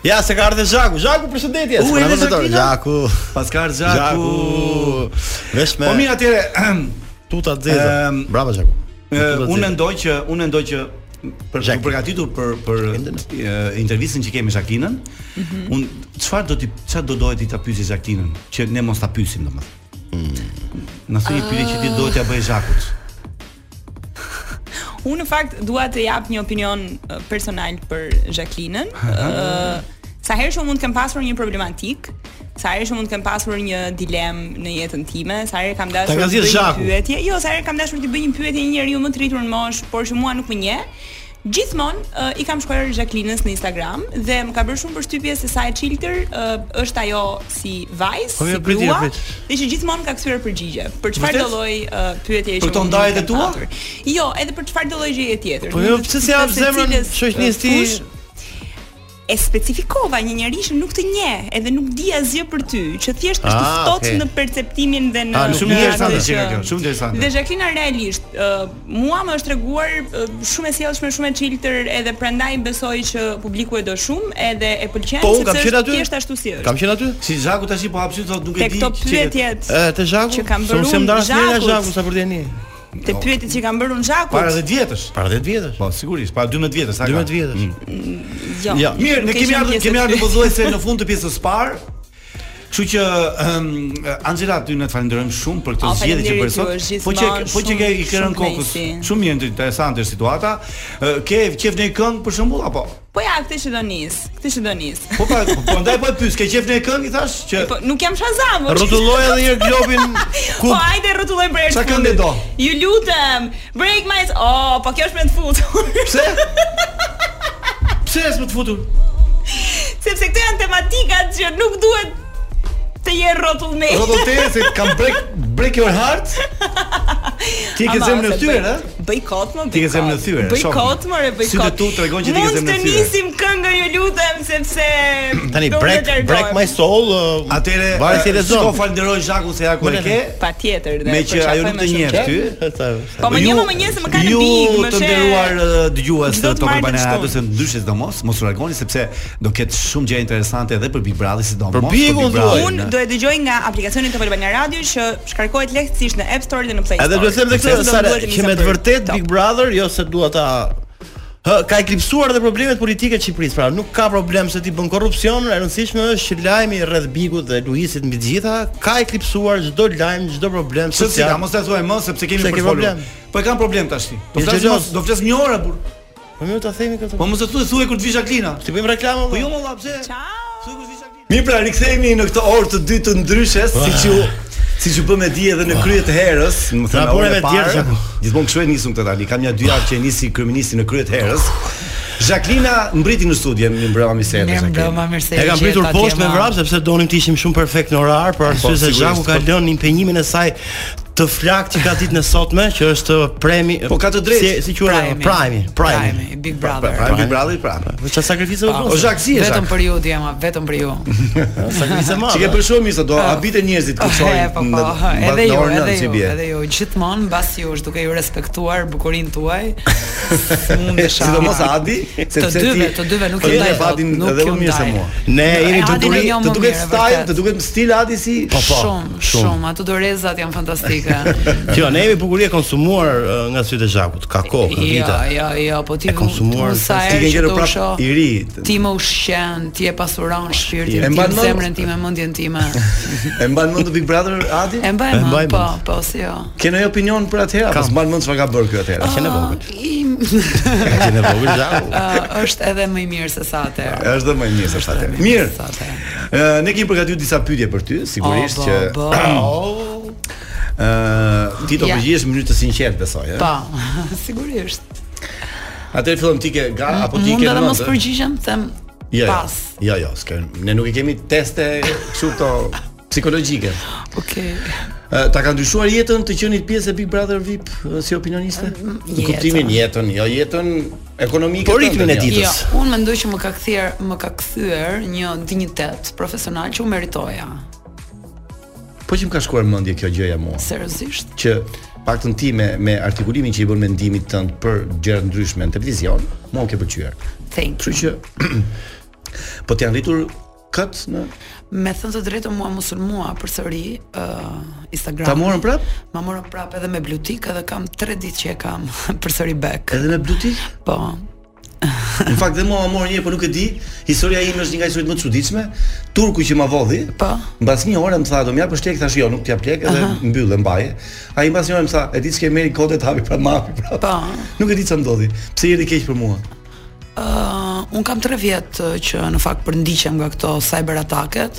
Ja, se ka ardhe Zhaku. Zhaku, përshëndetje.
U,
s'po na
erdhe
vjen dorë.
Zhaklina?
Zhaku.
pas ka ardhur
Zhaku.
Zhaku.
Vesh me
Po mirë atëre,
tuta të zeza.
Ehm,
Bravo Zhaku. Tuta të
unë
zeza.
mendoj që unë mendoj që për
Zhak.
për përgatitur për për eh, intervistën që kemi Jacqueline,
Mhm.
unë çfarë do ti çfarë do dohet ti ta pyesi Jacqueline, që ne mos ta pyesim domethënë. Mm. Na thoni një pyetje që
Ah.
ti do t'ja bëj Zhakut.
Unë në fakt dua të jap një opinion eh, personal për Jacqueline. Ë, sa herë që unë mund të kem pasur një problematik, sa herë që mund të kem pasur një dilemë në jetën time, sa herë kam dashur
Ta ka
të
zgjedh
bëj
Zhaku.
një pyetje, jo, sa herë kam dashur të bëj një pyetje një njeriu më të rritur në moshë, por që mua nuk më nje. Gjithmonë eh, i kam shkruar Jacqueline-s në Instagram dhe më ka bërë shumë përshtypje se sa e çiltër eh, është ajo si vajzë,
Po,
si
mirë, prit,
grua,
prit.
dhe që gjithmonë ka kthyer përgjigje për çfarë
Vërtet?
do lloj eh, pyetje që
Për këto
unë
ndajet e
kam
tua?
pasur. Jo, edhe për çfarë do lloj gjëje tjetër.
Po
Nuk
jo,
është
pse
se
se jap
se
zemrën
cilës,
shoqënisë
uh,
ti?
kush E specifikova një njerëz që nuk të nje, edhe nuk di asgjë për ty, që thjesht është i
Ah,
ftohtë
okay.
në perceptimin dhe në
Ah, nuk
Shumë
në
interesante
atë
që ka
që-
kjo, shumë interesante.
Dhe Jacqueline realisht, uh, mua më është treguar uh, shumë e sjellshme, shumë e çiltër, edhe prandaj besoj që publiku e do shumë, edhe e pëlqen
Po, unë kam
sepse
qenë
është
aty.
thjesht ashtu si është.
Kam qenë aty?
Si Zhaku tash po hapsi thotë nuk e
Te
di.
këto
që-
pyetjet,
E, te Zhaku.
Që kam
Se unë
bërë
s'jam
unë
ndarë asnjëherë nga
Zhakut.
Zhaku sa për tani.
te pyetjet që kam bërë unë Zhakut.
Para 10 vjetësh.
jo. Para 10 vjetësh. Mm.
Po sigurisht, para 12 vjetësh, sa ka?
12 vjetësh.
Jo.
Ja.
Po. Mirë, ne
Nuk e
kemi
ishin
ardhur
pjesë
kemi
e
ardhur
ty.
pothuajse në fund të pjesës së parë. Kështu që um, Angela ty ne të falenderojmë shumë për këtë
O,
zgjedhje që bëri
faleminderit, ju
sot.
është
Po që
gjithmonë
po që ke i
shumë-
kërën
shumë
kokës.
knajsi.
Shumë mirë interesante është situata. Ë, Ke qef në një këngë për shembull apo?
Po ja, këtë që do nis, këtë që do nis.
Po pra, po- po ndaj po e pyes, ke qef në një këngë i thash që
Po nuk jam Shazam. o,
Rrotulloj edhe një herë globin
Po
kup.
hajde rrotulloj për herë.
Çfarë
të fundit.
këngë do?
Ju lutem, break my Oh, po kjo është me të futur.
pse? Pse s'më të futur?
Sepse këto janë tematikat që nuk duhet të jenë rrotull me.
Rodote se kam break break your heart. Ti ke
Ama,
zemrën në
ose
thyer,
bëj-
ë?
Bëj kot më.
Ti ke
bëj
zemrën në
kot.
thyer,
Bëj
shoh.
kot më, re, bëj kot.
Sytë tu tregon që ti ke zemrën në
Mund
thyer.
të nisim këngën, ju lutem, sepse
Tani
do të
break
largohem.
break my soul. uh,
Atëre,
varet si lezon.
Ko falenderoj Zhakun se ja ku e
Bëre.
ke.
Patjetër dhe.
Me që ajo
përqafoj
nuk
më
të
shumë
njeh
qef.
ty.
Po më
Ju-
njeh, më njeh se më ka në big, më
Ju të
she-
nderuar eh, dëgjues
Çdo
të
të
Top
martën
Albana
shtonë.
Radios e ndyshe sidomos, mos u largoni sepse do ketë shumë gjëra interesante edhe për Big Brother sidomos.
Për Big-un, thuaj.
Unë do e dëgjoj nga aplikacioni Top Albania Radio që shkarkohet lehtësisht në App Store dhe në Play Store.
Edhe duhet të them dhe këtë,
Sepse do
Sara,
duhet të
që me
nisem
të
për
vërtet
Top.
Big Brother, jo se dua ta Hë, ka eklipsuar edhe problemet politike të Shqipërisë. Pra, nuk ka problem se ti bën korrupsion, e rëndësishme është që lajmi rreth Bigut dhe Luisit mbi të gjitha ka eklipsuar çdo lajm, çdo problem
Sepse si, ka
social.
mos ta thuaj më sepse kemi
Pse
për
ke
të folur.
problem?
Po e kam problem tash ti. Do
Je
flas
xheloz.
mos- do flas një orë burr.
Po më ta themi këtë.
Po mos e thuaj thuaj kur të vi Jacqueline.
Ti bëjmë reklamë.
Po
Po
jo më valla pse?
Ciao.
Thuaj kur të vi Jacqueline. Mirë pra, rikthehemi në këtë orë të dytë të ndryshes, siç ju siç ju bëm e di edhe në krye të herës, më
Na
thënë
bure
orën e
me
parë.
djerë, Gjaku.
Gjithmonë kështu e nisëm këtë tani. Kam ja dy javë që e nisi kryeministi në krye të herës. Jacqueline mbriti në studio, më mbrëma bisedën.
Ne
Jacqueline.
mbrëma mirë se
E kam pritur
gjeta
poshtë me
t'jema.
vrap sepse donim të ishim shumë perfekt në orar, por arsye se
sigurisht,
Zhaku ka
po.
lënë impenjimin e saj të flak që ka ditën e sotme, që është premi.
Po ka të drejtë.
Si, si quhet? ajo? Primi, primi.
Prime, Big
Pra, pra,
Brother.
pra, Big Brother pra.
Po çfarë sakrifice u
O
bën?
Zhak si e Zhak?
Vetëm për ju djema, vetëm për ju.
Sakrifice madhe.
Që ke për shumë mirë do habite njerëzit ku
E,
shojnë.
Ah. po, po,
në-
edhe
në
ju,
orën
edhe
nëntë si
ju,
bie.
edhe ju gjithmonë mbas jush duke ju respektuar bukurinë tuaj. Mundesha.
Sidomos Adi, sepse ti
dyve, të dyve nuk ju
ke
ndaj dot,
Adin
nuk
edhe
ju
më mirë se
ndaj.
mua.
Ne jemi të
Adi
duri.
në jo
Të
më
duket
mirë,
style,
vërtet.
të duket stil Adi si
po,
Shumë,
shumë.
shumë, ato dorezat janë fantastike.
Jo, ne jemi bukurie konsumuar ë, nga sytë e Zhakut. Ka kohë, ka
Jo,
vite.
jo, jo, po ti
E konsumuar,
sa
ti
ti
herë
ke
që
ngjerë
të
prap
usho,
i ri.
ti më ushqen, ti e pasuron
E
shpirtin
mban
tim,
mend?
zemrën time, mendjen time.
E mban mend të Big Brother Adi?
E mbaj
E mbaj
mend, po,
mend.
po, si jo.
Ke ndonjë opinion për atëherë? Apo s'mban mend çfarë ka bërë ky atëherë?
Qenë e vogël.
Im,
Qenë e vogël Zhaku.
ë, është edhe më i mirë se sa atëherë.
Është dhe më i mirë është atëherë. Mirë.
Sa atëherë.
Ë, ne kemi përgatitur disa pyetje për ty, sigurisht
O, bo,
që
bo.
ë ti do
Ja.
përgjigjesh në mënyrë të sinqertë besoj, ë.
Po, sigurisht.
Atëherë fillon ti ke ga apo ti
Mund
ke
edhe
mend,
mos
ë?
përgjigjem, them
Jo, jo.
pas.
Jo, jo, s'ka. Ne nuk i kemi teste kështu këto psikologjike.
Okej.
Ë, Ta ka ndryshuar jetën të qenit pjesë e Big Brother VIP ë, si opinioniste?
Mm,
Jetën.
Në kuptimin jetën, jo jetën ekonomike.
Po ritmin e
tënde,
Jo,
ditës.
unë mendoj që më ka kthyer, më ka kthyer një dinjitet profesional që u meritoja,
jo. Po që më ka shkuar në mendje kjo gjëja mua,
seriozisht.
që paktën ti me me artikulimin që i bën mendimit tënd për gjëra ndryshme në televizion, mua u ke pëlqyer.
Thank
Kështu
you.
që po të janë rritur kët në
Me thënë të drejtën mua më sulmua përsëri uh, Instagram.
ta morën prap
Ma morën prapë edhe me blutik edhe kam 3 ditë që e kam përsëri back.
edhe me Bluetooth.
Po.
Në fakt dhe mua ma morën një, po nuk e di. Historia ime është një nga historitë më të çuditshme. Turku që ma vodhi,
Po.
Mbas një ore më tha, do më japësh lek tash jo, nuk t'jap lek edhe mbyllë mbaje. Ai mbas një ore më tha, e di s'ke merri kodet hapi pra mapi pra.
Po.
Nuk e di ç'a ndodhi. Pse i erdhi keq për mua?
Uh, un kam 3 vjet uh, që në fakt përndiqem nga këto cyber ataket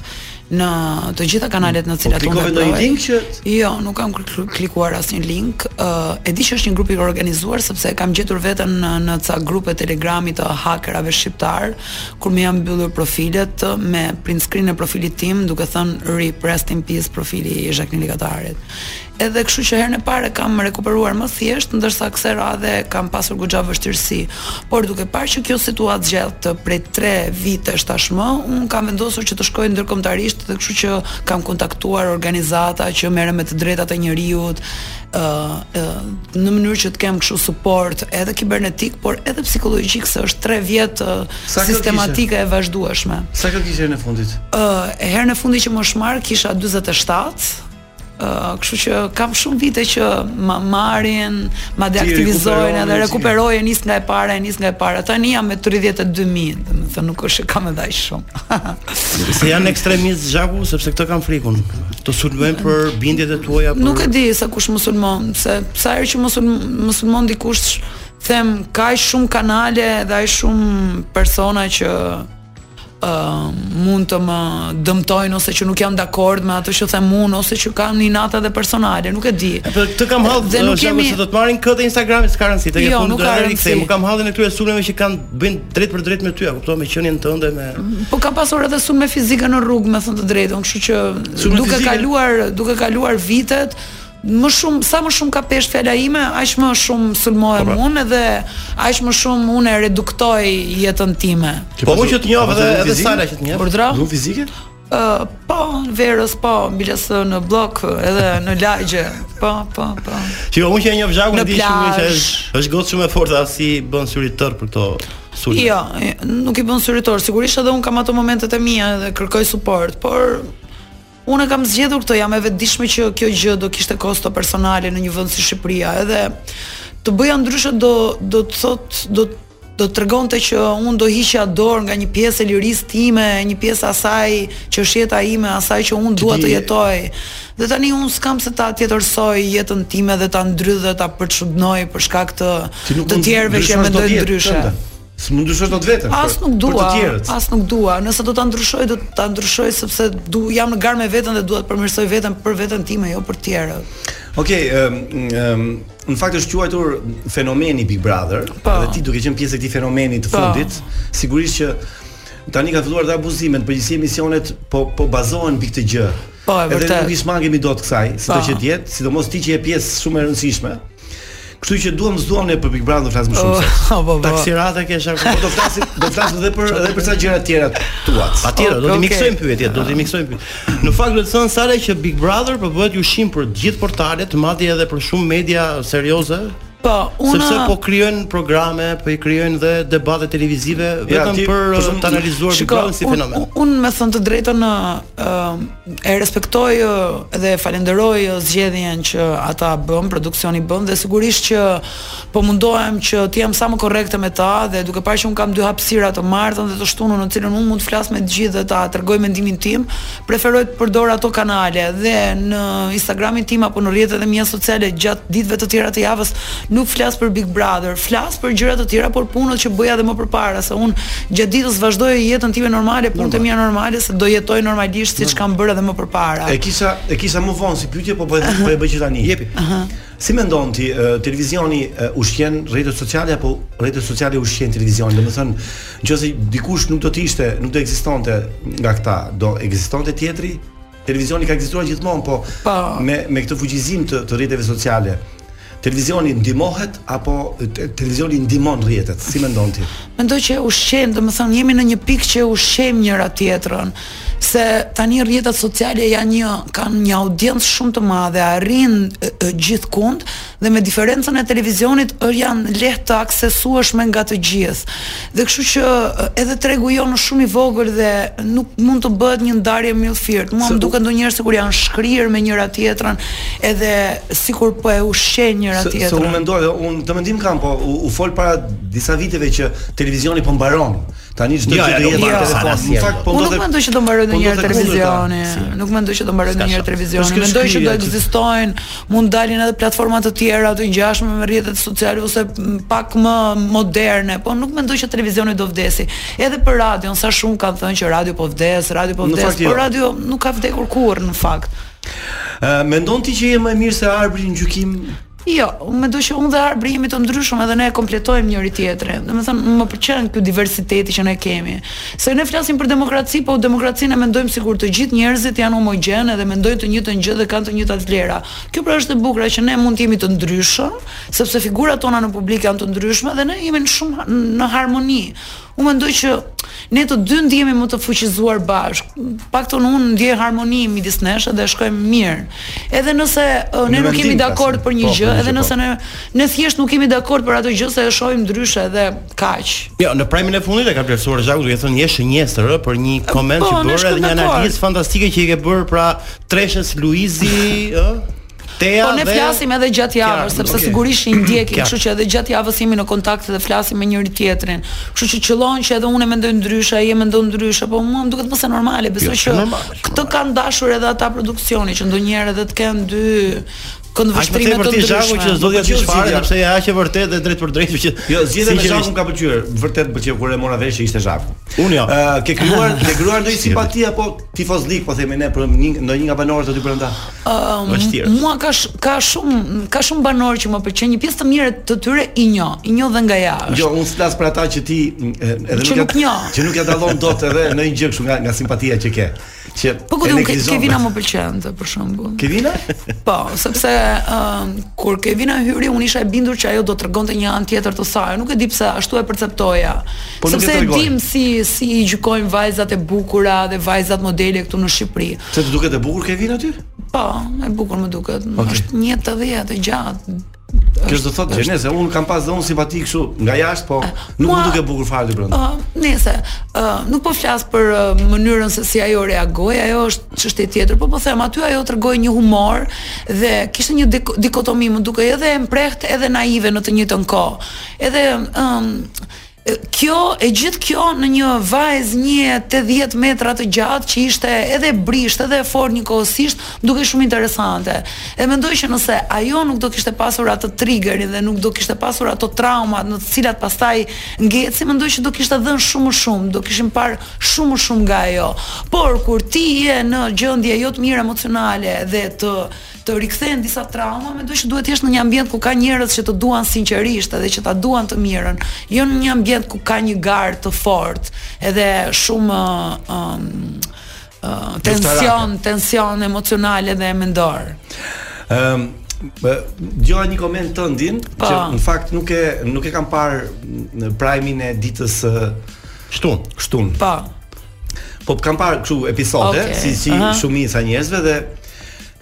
në të gjitha kanalet në të cilat unë
Po klikove ndonjë
veproj.
link që-
Jo, nuk kam kl- klikuar asnjë link. Uh, e di që është një grup i organizuar sepse e kam gjetur veten në, në ca grupe Telegrami të hackerave shqiptar kur më janë mbyllur profilet uh, me print screen e profilit tim, duke thënë RIP rest in peace profili i Jacqueline Ligatarit. Edhe kështu që herën e parë kam rekuperuar më thjesht, ndërsa kësaj radhe kam pasur goxha vështirësi. Por duke parë që kjo situatë gjatë të prej 3 vitesh tashmë, un kam vendosur që të shkoj ndërkombëtarisht dhe kështu që kam kontaktuar organizata që merren me të drejtat e njerëzit, ë ë, në mënyrë që të kem kështu suport edhe kibernetik, por edhe psikologjik se është 3 vjet ë,
Sa kjo
sistematike e vazhdueshme.
Sa ka kishe në fundit?
Ë, herën e fundi që më shmar kisha 47. Ë, kështu që kam shumë vite që ma marrin, ma
rikuperon,
deaktivizojnë edhe
si.
rekuperojnë, nis nga e para, e nis nga e para. Tani jam me 32000, domethënë nuk është që kam edhe aq shumë.
Se janë ekstremist zhaku sepse këto kanë frikun. Të sulmojnë për bindjet e tuaja për
Nuk e di sa kush musulmon, se sa herë që musulmon, musulmon dikush them ka aq shumë kanale dhe aq shumë persona që uh, mund të më dëmtojnë ose që nuk jam dakord me atë që them unë ose që kam një natë edhe personale, nuk e di.
Po këtë kam hall
Dhe nuk
zhaku,
jemi-
se do të marrin këtë e Instagramit s'ka rëndsi, tek e
Jo,
fundi
nuk
do
ka
të
rëndsi.
rikthejmë. Kam hallin e këtyre sulmeve që kanë bëjnë drejt për drejt me ty, a kupton me qenien tënde me
Mm.
Po kam pasur edhe sulme fizike në rrugë, me thënë të drejtën, kështu që
Sulme
duke
fizike?
kaluar duke kaluar vitet më shumë sa më shumë ka pesh fjala ime, aq më shumë sulmohem unë dhe aq më shumë unë e reduktoj jetën time.
Po unë që të njoh edhe edhe Sala që të njoh.
Urdhra?
Dhun fizike?
Ë, po, në verës po, biles në blok edhe në lagje. Po, po, po.
Që unë që e njoh zhakun
Në
di shumë mirë që
plazh.
është është gotë shumë e fortë as si bën syritor për këto sulme.
Jo, nuk i bën syritor. Sigurisht edhe un kam ato momentet e mia dhe kërkoj suport, por unë e kam zgjedhur këtë, jam e vetëdijshme që kjo gjë do kishte kosto personale në një vend si Shqipëria, edhe të bëja ndryshe do do të thot do do të tregonte që unë do hiqja dorë nga një pjesë e lirisë time, një pjesë asaj që është jeta ime, asaj që unë dua të jetoj. Dhe tani unë s'kam se ta tjetërsoj jetën time dhe ta ndrydh dhe ta përçudnoj për shkak të të tjerëve që mendojnë ndryshe.
S'mund ndryshosh dot veten.
As
për-
nuk dua,
Për të tjerët.
as nuk dua. Nëse do ta ndryshoj, do ta ndryshoj sepse du jam në garë me veten dhe dua të përmirësoj veten për veten time, jo për tjerët.
Okej, ëm ëm, në fakt është quajtur fenomeni Big Brother,
Po.
edhe ti duke qenë pjesë e këtij fenomeni të
Po.
fundit, sigurisht që tani kanë filluar të abuzimet, përgjithësi emisionet po po bazohen mbi këtë gjë.
Po, e
Edhe
vërtet.
nuk i smangemi dot kësaj, sido
Po.
që të jetë, sidomos ti që je pjesë shumë e rëndësishme. Kështu që duam s'duam ne për Big Brother flasim më shumë. se.
po,
Taksirata ke zhaku.
Po do flasim, do flasim edhe për edhe për sa gjëra të tjera tuat.
Patjetër, do
Ok,
t'i
ok.
miksojmë pyetjet, do t'i miksojmë pyetjet. Në fakt do të thënë Sara që Big Brother po bëhet ushqim për të gjithë portalet, madje edhe për shumë media serioze,
Po, unë
sepse po krijojnë programe, po i krijojnë dhe debate televizive
Ja,
vetëm
ti-
për
për
uh,
shumë-
të analizuar Big Brother si fenomen.
Unë un, me thënë të drejtën ë ë, e respektoj ë, dhe falenderoj ë, zgjedhjen që ata bën, produksioni bën dhe sigurisht që po mundohem që të jem sa më korrekte me ta dhe duke parë që un kam dy hapësira të martën dhe të shtunën në cilën un mund të flas me të gjithë dhe ta tregoj mendimin tim, preferoj të përdor ato kanale dhe në Instagramin tim apo në rrjetet e mia sociale gjatë ditëve të tjera të javës nuk flas për Big Brother, flas për gjëra të tjera, por punët që bëja dhe më përpara, se unë gjatë ditës vazhdoj jetën time normale, punët e mia normale, se do jetoj normalisht siç kam bërë edhe më përpara.
E kisha e kisha më vonë si pyetje, po po e- po e bëj që tani. Jepi. Si mendon ti ë, televizioni ë, ushqen rrjetet sociale apo rrjetet sociale ushqen televizionin? Domethënë, nëse dikush nuk do të ishte, nuk do ekzistonte nga këta, do ekzistonte tjetri? Televizioni ka ekzistuar gjithmonë, po me me këtë fuqizim të, të rrjeteve sociale. Televizioni ndihmohet apo te, televizioni ndihmon rrjetet? Si mendon ti?
Mendoj që ushqejm, domethënë jemi në një pikë që ushqejm njëra tjetrën, se tani rrjetet sociale janë një kanë një audiencë shumë të madhe, arrin e, e, gjithkund dhe me diferencën e televizionit ë, janë lehtë të aksesueshme nga të gjithë. Dhe kështu që e, edhe tregu jonë është shumë i vogël dhe nuk mund të bëhet një ndarje myllfirt. Mua
Se-
më duket ndonjëherë sikur janë shkrirë me njëra tjetrën, edhe sikur po e ushqejnë njëra
Se, se
tjetrën.
unë mendoj, unë të mendim kam, po u, u fol para disa viteve që televizioni po mbaron. Tani çdo
Jo,
gjë
jo,
do jetë
jo.
në telefon.
Unë
Në fakt po
Unë
ndodhet.
nuk mendoj që do mbaroj
po
ndonjëherë
ndodhet
televizioni.
kundërta.
Nuk mendoj që do mbaroj ndonjëherë
Është
televizioni.
kjo
Mendoj që
shkrija
do
që-
ekzistojnë, mund dalin edhe platforma të tjera të ngjashme me rrjetet sociale ose m, pak më moderne, po nuk mendoj që televizioni do vdesi. Edhe për radion, sa shumë kanë thënë që radio po vdes, radio po
Në
vdes,
fakt,
po
jo.
radio nuk ka vdekur kurrë në fakt.
Ë, mendon ti që je më e mirë se arbri në gjykim?
Jo, unë mendoj që unë dhe Arbri jemi të ndryshëm edhe ne e kompletojmë njëri tjetrin. Domethënë më pëlqen ky diversiteti që ne kemi. Se ne flasim për demokraci, po demokracinë e mendojmë sikur të gjithë njerëzit janë homogjen edhe mendojnë të njëjtën gjë dhe kanë të njëjtat vlera. Kjo pra është e bukur që ne mund të jemi të ndryshëm, sepse figurat tona në publik janë të ndryshme dhe ne jemi në shumë në harmoni. Unë mendoj që ne të dy ndihemi më të fuqizuar bashkë. Paktën unë ndjej harmoni midis nesh dhe shkojmë mirë. Edhe nëse ë, Po, ne
Në
nuk jemi
vendim,
dakord
tasim.
për një
Po,
gjë,
për një
edhe
gjë, po.
nëse ne ne thjesht nuk jemi dakord për atë gjë se e shohim ndryshe dhe kaq.
Jo, në primin e fundit e ka vlerësuar Zhaku duke thënë je shënjestër ë për një koment
Po,
që
ne
bërë
shkojmë
edhe një
dakord.
analizë fantastike që i ke bërë pra Treshës Luizi, ë Tea
Po ne
dhe
flasim edhe gjatë javës,
Kjarën,
sepse
okay.
sigurisht i ndjekim,
Qartë.
kështu që edhe gjatë javës jemi në kontakt dhe flasim me njëri tjetrin. Kështu që qëllon që edhe unë e mendoj ndryshe, ai e mendon ndryshe, po mua më duket mos e normale, besoj
është
që
normale, është
këtë kanë dashur edhe ata produksioni që ndonjëherë edhe të kenë dy
Aq më
këndvështrime
tepër
të
ti Zhaku që
ndryshme.
s'do të
Po,
jesh
po,
fare
zgjidhja.
sepse e aq e vërtetë dhe drejt për drejtë që
Jo, zgjidhja me
sinqerisht-
Zhakun ka pëlqyer. Vërtet pëlqeu kur e mora vesh që ishte Zhaku.
Unë jo.
Ë, ke krijuar, ke krijuar ndonjë simpati apo tifozlik, po themi ne, për një ndonjë nga banorët aty brenda?
është thjesht.
Po, Mua ka sh, ka shumë ka shumë banor që më pëlqen një pjesë të mirë të tyre i njoh, i njoh dhe nga jashtë.
Jo, unë flas për ata që ti m, e, edhe
Që nuk njoh.
që nuk ja dallon dot edhe në një gjë kështu nga nga simpatia që ke. Që
Po ku
e
diun
neglizon.
Kevina më pëlqente për shembull.
Kevina?
Po, sepse um, kur Kevina hyri unë isha e bindur që ajo do të tregonte një anë tjetër të saj. Nuk e di pse ashtu e perceptoja.
Po nuk e
sepse e
tregoi.
dim si si i gjykojnë vajzat e bukura dhe vajzat modele këtu në Shqipëri.
Se të duket e bukur Kevina aty?
Po, e bukur më duket. Është një të dhjetë e gjatë.
Kjo do thotë që nëse unë kam pas dhe unë simpati kështu nga jashtë, po nuk më
mua- Ah.
duket bukur fare aty brenda.
Ë, nëse ë, nuk po flas për ë, mënyrën se si ajo reagoi, ajo është çështje tjetër, po po them aty ajo tregoi një humor dhe kishte një dik dikotomi, më dukej edhe e mprehtë edhe naive në të njëjtën kohë. Edhe ëm e, kjo e gjithë kjo në një vajzë një 80 metra të gjatë që ishte edhe e brisht edhe e fortë njëkohësisht, më dukej shumë interesante. E mendoj që nëse ajo nuk do kishte pasur atë triggerin dhe nuk do kishte pasur ato traumat në të cilat pastaj ngeci, mendoj që do kishte dhënë shumë më shumë, do kishim parë shumë më shumë nga ajo. Por kur ti je në gjendje jo të mirë emocionale dhe të të rikthehen disa trauma, mendoj që duhet të jesh në një ambient ku ka njerëz që të duan sinqerisht edhe që ta duan të mirën, jo në një ambient ku ka një garë të fortë edhe shumë ë, ëm, ë, tension, tension emocional edhe mendor.
Ëm Djova Ehm, një koment të ndin
Po.
që në fakt nuk e nuk e kam parë në primin e ditës ë,
Shtun.
shtun.
Po.
Po kam parë kështu episode
Okej,
si si
aha.
shumica njerëzve dhe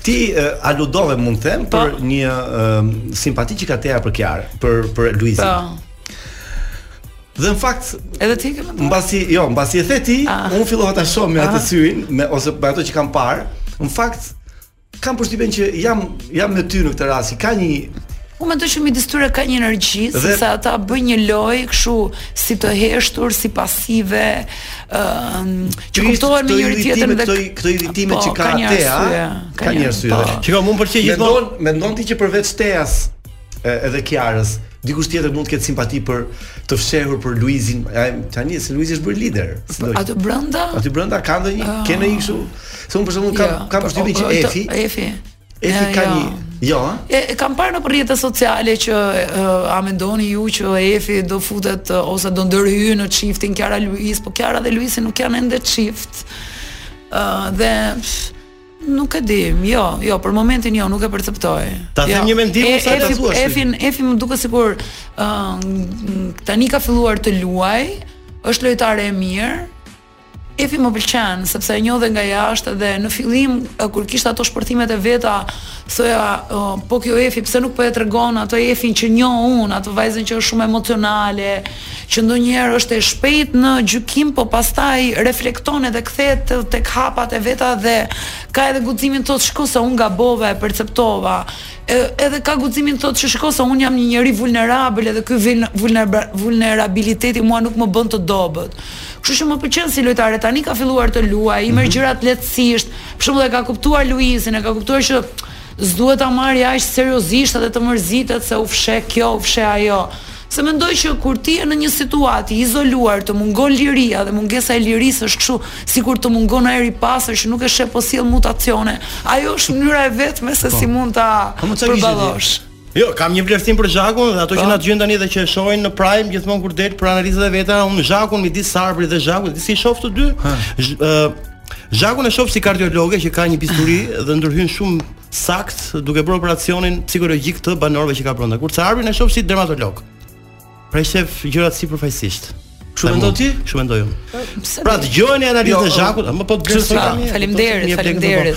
ti e, aludove mund të them për
Po.
një e, simpati që ka teja për Kiar, për për Luizin.
Po.
Dhe në fakt
Edhe ti ke mendoj?
mbasi jo, mbasi e the ti,
Ah.
unë fillova ta shoh me atë syrin me ose me ato që kam parë. Në fakt kam përshtypjen që jam jam me ty në këtë rast. që Ka një
Unë mendoj që midis tyre ka një energji,
Dhe-
sepse ata bëjnë një lojë kështu si të heshtur, si pasive, ë që
Ky ishte
kuptohen me
këto
njëri tjetrin
irritime,
dhe Po,
këto i- këto irritime që ka
një
Atea,
arsye,
ka një arsye
po.
dhe-
Shikoj, mua më pëlqej
Jo.
gjithmonë.
Mendon, mendon ti që përveç Teas e, edhe Kiarës, dikush tjetër mund të ketë simpati për të fshehur për Luizin, Ai, tani se Luizi është bërë lider. s'do-
Atë brenda? Ah.
Aty brenda ka ndonjë, ke ndonjë kështu. Se unë për shembull kam
Jo,
kam
po,
përshtypjen që
o, o,
Efi,
të- Efi.
Efi
Ja,
ka
jo.
një, jo, ha?
E, e kam parë në rrjetet sociale që uh, a mendoni ju që Efi do futet ë, ose do ndërhyjë në çiftin Kiara Luiz, po Kiara dhe Luisi nuk janë ende çift. Ë dhe pff, Nuk e di, jo, jo, për momentin jo, nuk e perceptoj.
Ta
jo.
them një mendim,
E-
sa ta
Efi-
thuash ti?
Efin, Efi më duket sikur ë tani ka filluar të luaj, është lojtare e mirë. Efi më pëlqen sepse e njoh dhe nga jashtë dhe në fillim ë, kur kishte ato shpërthimet e veta, thoya, ë, po kjo Efi pse nuk po e tregon ato Efin që njoh unë, ato vajzën që është shumë emocionale, që ndonjëherë është e shpejtë në gjykim, po pastaj reflekton edhe kthehet të- tek hapat e veta dhe ka edhe guximin thotë shko se unë gabova, e perceptova. E- Edhe ka guximin thotë që shko se unë jam një njerëz vulnerabël edhe ky vulne- vulnera- vulnerabiliteti mua nuk më bën të dobët. Kështu që më pëlqen si lojtare tani ka filluar të luajë, i merr gjërat lehtësisht. Për shembull e ka kuptuar Luizin, e ka kuptuar që s'duhet ta marrë aq seriozisht edhe të mërzitet se u fshe kjo, u fshe ajo. Se mendoj që kur ti je në një situatë i izoluar, të mungon liria dhe mungesa e lirisë është kështu sikur të mungon ajri i pastër që nuk e sheh po sill mutacione. Ajo është mënyra e vetme se si mund ta
Po, më çfarë kishte
përballosh.
Jo, kam një vlerësim për Zhakun dhe ato që
Po.
na dëgjojnë tani dhe që e shohin në Prime gjithmonë kur del për analizat e veta, unë Zhakun midis Sabri dhe Zhakut, disi i shoh të dy. Zh, ë, Zhakun e shoh si kardiologe që ka një bisturi dhe ndërhyn shumë sakt duke bërë operacionin psikologjik të banorëve që ka brenda. Kur Sabrin e shoh si dermatolog. Pra e shef gjërat sipërfaqësisht.
Kështu mendon ti?
Kështu mendoj unë. Pra dëgjojeni
Jo,
analizën e
ë,
Zhakut, ama po
Kështu
besoj
pra,
tani,
faleminderit,
një plekë të
faleminderit.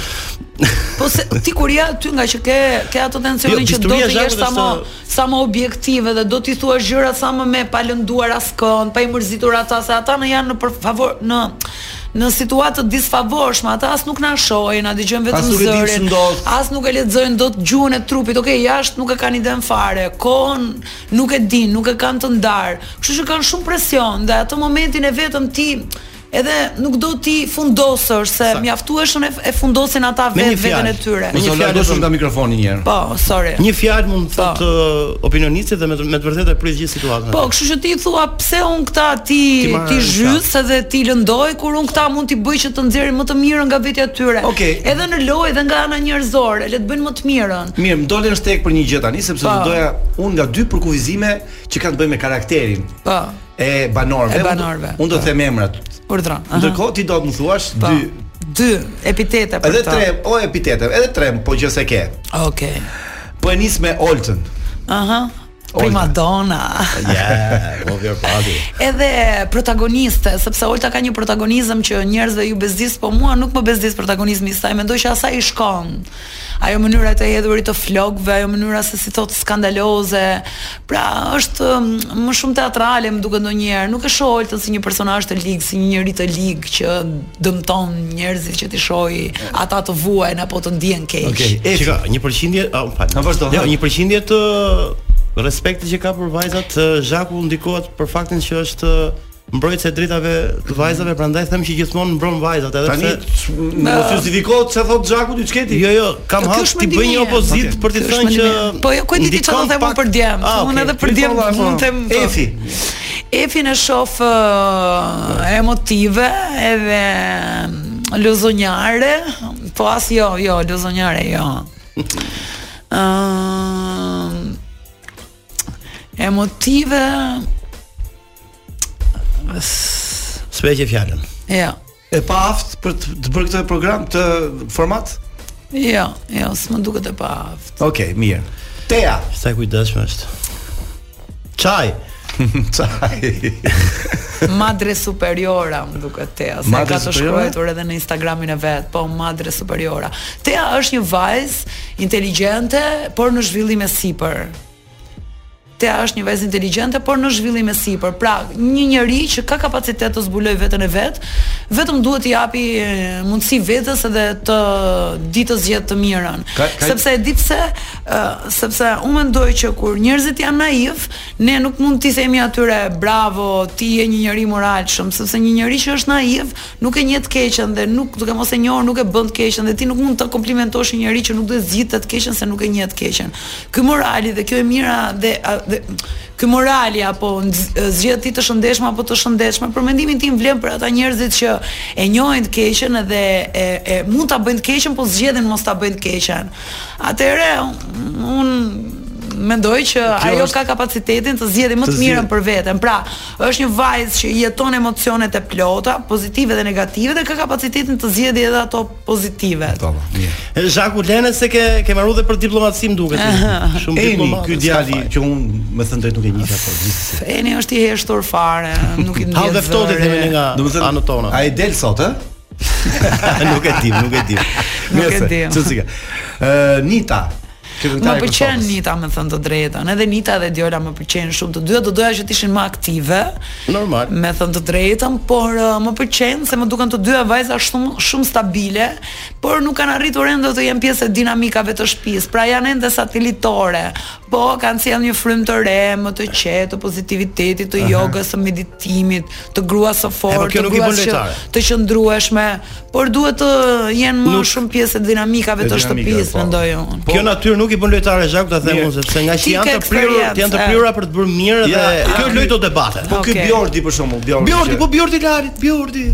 Po se ti kur ja aty nga që ke ke ato
Jo,
tensionin që do
bisturia
të
e
jesh
Zhakut
sa më
është-
sa më objektive dhe do t'i thua gjërat sa më me pa lënduar askën, pa i mërzitur ata se ata në janë në për favor në në situatë të disfavorshme, ata as nuk na shohin, na
As
dëgjojnë vetëm
nuk e dinë
zërin,
ç'u ndodh.
as nuk e lexojnë dot gjuhën e trupit. Okej, jashtë nuk e kanë iden fare, kohën nuk e dinë, nuk e kanë të ndarë. Kështu që kanë shumë presion dhe atë momentin e vetëm ti edhe nuk do ti fundosësh se mjaftueshën e, e fundosin ata
Me një
vetë veten e
fjalë.
tyre.
Me një
Mos u
fjalë
largosh
vetëm-
nga mikrofoni një herë.
Po, sorry.
Një fjalë mund të
Po.
thotë uh, opinionistit dhe me të, me të vërtetë e prit gjithë situatën.
Po, kështu që ti thua pse un këta ti
Ti marrë
ti
në
zhys edhe ti lëndoj kur un këta mund t'i bëj që të nxjerrin më të mirën nga vetja e tyre.
Okej.
Edhe në lojë dhe nga ana njerëzore, le të bëjnë më të mirën.
Mirë, më dolën shtek për një gjë tani sepse
Po.
do doja unë nga dy përkufizime që kanë të bëjnë me karakterin
Po,
e banorëve. Unë
E
do-
banorëve.
Unë do të them emrat.
urdhra. aha.
Ndërkohë ti do të më thuash
Po,
dy
dy epitete për
edhe
këta.
tre, o epitete, edhe tre, po që se ke.
Okej.
Po e nis me Oltën.
Aha. Primadonna.
ja, po vjen pati.
edhe protagoniste, sepse Olta ka një protagonizëm që njerëzve ju bezdis, po mua nuk më bezdis protagonizmi i saj. Mendoj që asaj i shkon. Ajo mënyra të hedhurit të flokëve, ajo mënyra se si thot skandaloze. Pra, është mm, më shumë teatrale, më duket ndonjëherë. Nuk e shoh Oltën si një personazh të ligë, si një njerëz të ligë që dëmton njerëzit që ti shohi, ata të vuajnë apo të ndihen keq.
Okej. E,
Shika, një përqindje, a më fal.
Na vazhdo,
Jo,
ha.
një përqindje të respektit që ka për vajzat, uh, Zhaku ndikohet për faktin që është uh, mbrojtës e drejtave të vajzave, prandaj them që gjithmonë mbron vajzat, edhe
Tani
pse
s- mos justifikohet çfarë thot Xhaku ti çketi.
Jo, jo, kam
Kjo
hap
është
ti bëj
mendimi
një
im.
opozit
Okej.
për të
Kjo është
thënë që
mendimi. Po jo, ku e di ti çfarë do
ndikon
them unë
pak-
për djem.
Ah, okej.
Unë edhe për djem
Po, valla, po.
mund të them.
Efi.
Efin e shoh ë, emotive edhe mm, lozonjare, po as jo, jo, lozonjare jo. Ëm emotive
Speqe fjalën.
jo.
E pa aft për të, të bërë këtë program të format?
Jo, jo, s'më duket e paaft.
Okej, mirë. Tea.
Sa e kujdesshme është. Çaj.
Çaj.
Madre superiora më duket Tea, se
Madre
ka të
superiora?
shkruar edhe në Instagramin e vet, po Madre superiora. Tea është një vajzë inteligjente, por në zhvillim e sipër. Tea është një vajzë inteligjente, por në zhvillim e sipër. Pra, një njeri që ka kapacitet të zbuloj veten e vet, vetëm duhet i japi e, mundësi vetes edhe të ditës gjetë të mirën.
Ka- ka-
Sepse e di pse, ë, sepse unë mendoj që kur njerëzit janë naiv, ne nuk mund t'i themi atyre bravo, ti je një njeri moralshëm, sepse një njeri që është naiv nuk e njeh të keqen dhe nuk duke mos e njohur nuk e bën të keqen dhe ti nuk mund të komplimentosh një njeri që nuk do të zgjidhte të keqen se nuk e njeh të keqen. Ky morali dhe kjo e mira dhe, a- dhe ky morali apo nz- zgjedh ti të shëndetshme apo të shëndetshme, për mendimin tim vlen për ata njerëzit që e njohin të keqen edhe e, e mund ta bëjnë të keqen, po zgjedhin mos ta bëjnë të keqen. Atëherë un mendoj që
Kjo
ajo
është-
ka kapacitetin të zgjedhë më
Të
të
zgjedhë.
mirën për veten. Pra, është një vajzë që jeton emocionet e plota, pozitive dhe negative dhe ka kapacitetin të zgjedhë edhe ato pozitive.
E, Zhaku Lene se ke ke marrë dhe për diplomaci më duket. Shumë
Eni,
diplomat.
ky djali që un me thënë drejt nuk e njeh apo gjithsesi.
Eni është i heshtur fare, nuk i ndjen.
Ha dhe ftohtë
zëre.
themi ne nga anët tona.
ai del sot, ë? nuk e di, nuk e di.
Nuk e di.
Çsika. Ë Nita. që
Më
këngëtare e
pëlqen
Kosovës.
Nita me thënë të drejtën. Edhe Nita dhe Djola më pëlqejnë shumë. Të dyja do doja që të ishin më aktive,
Normal.
me thënë të drejtën, por uh, më pëlqen se më duken të dyja vajza shumë shumë stabile, por nuk kanë arritur ende të jenë pjesë e dinamikave të shtëpisë. Pra janë ende satelitore, po kanë sjellë një frymë të re, më të qetë, të pozitivitetit, të jogës, të meditimit, të gruas së
po,
fortë,
kjo
të
nuk i
gruas
bën
që
lojtare.
të qëndrueshme, por duhet të jenë më shumë pjesë e dinamikave
E
të
dinamikave,
shtëpisë,
po.
mendoj unë.
Kjo natyrë nuk i bën lojtare Zhaku ta them
Mirë.
unë sepse nga që
Ti
janë
ke
të prirur,
eksperiencë,
janë të
e.
prirura për të bërë mirë
Ja,
dhe
a,
kjo është lojtë o debate.
Po ky
Okej.
Bjordi për shembull, Bjordi.
Bjordi,
që-
po Bjordi Larit, Bjordi.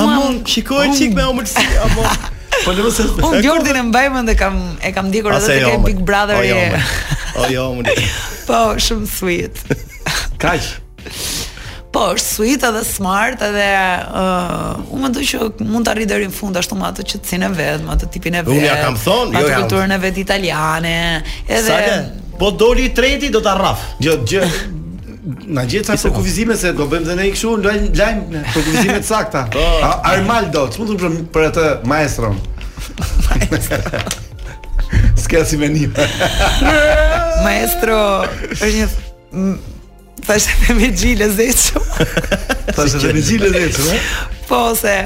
Amon, shikoj çik me omëlsi, amon.
po lëmë se.
Unë Bjordin e mbaj mend e kam e kam ndjekur edhe tek e Big Brother.
O jo.
e-
O jo, unë.
Po, shumë sweet.
Kaq.
Po, është sweet edhe smart edhe uh, unë mendoj që mund të arrijë deri në fund ashtu me atë qetësinë e vet, me atë tipin e vet.
Unë ja kam thonë,
me
jo,
atë
jam.
kulturën e vet italiane. Edhe
Sale, po doli i treti do ta rraf.
Gjë Jo, gjë Na gjetë sa për kufizime se do bëjmë dhe ne i kështu lajm lajm ne, për kufizime të sakta.
Po.
A- Armaldo, çu do për, për atë maestron. S'ka si menim.
maestro është një m- thashë me me gjile zeqëm
Tash edhe me xhilën e çu,
Po se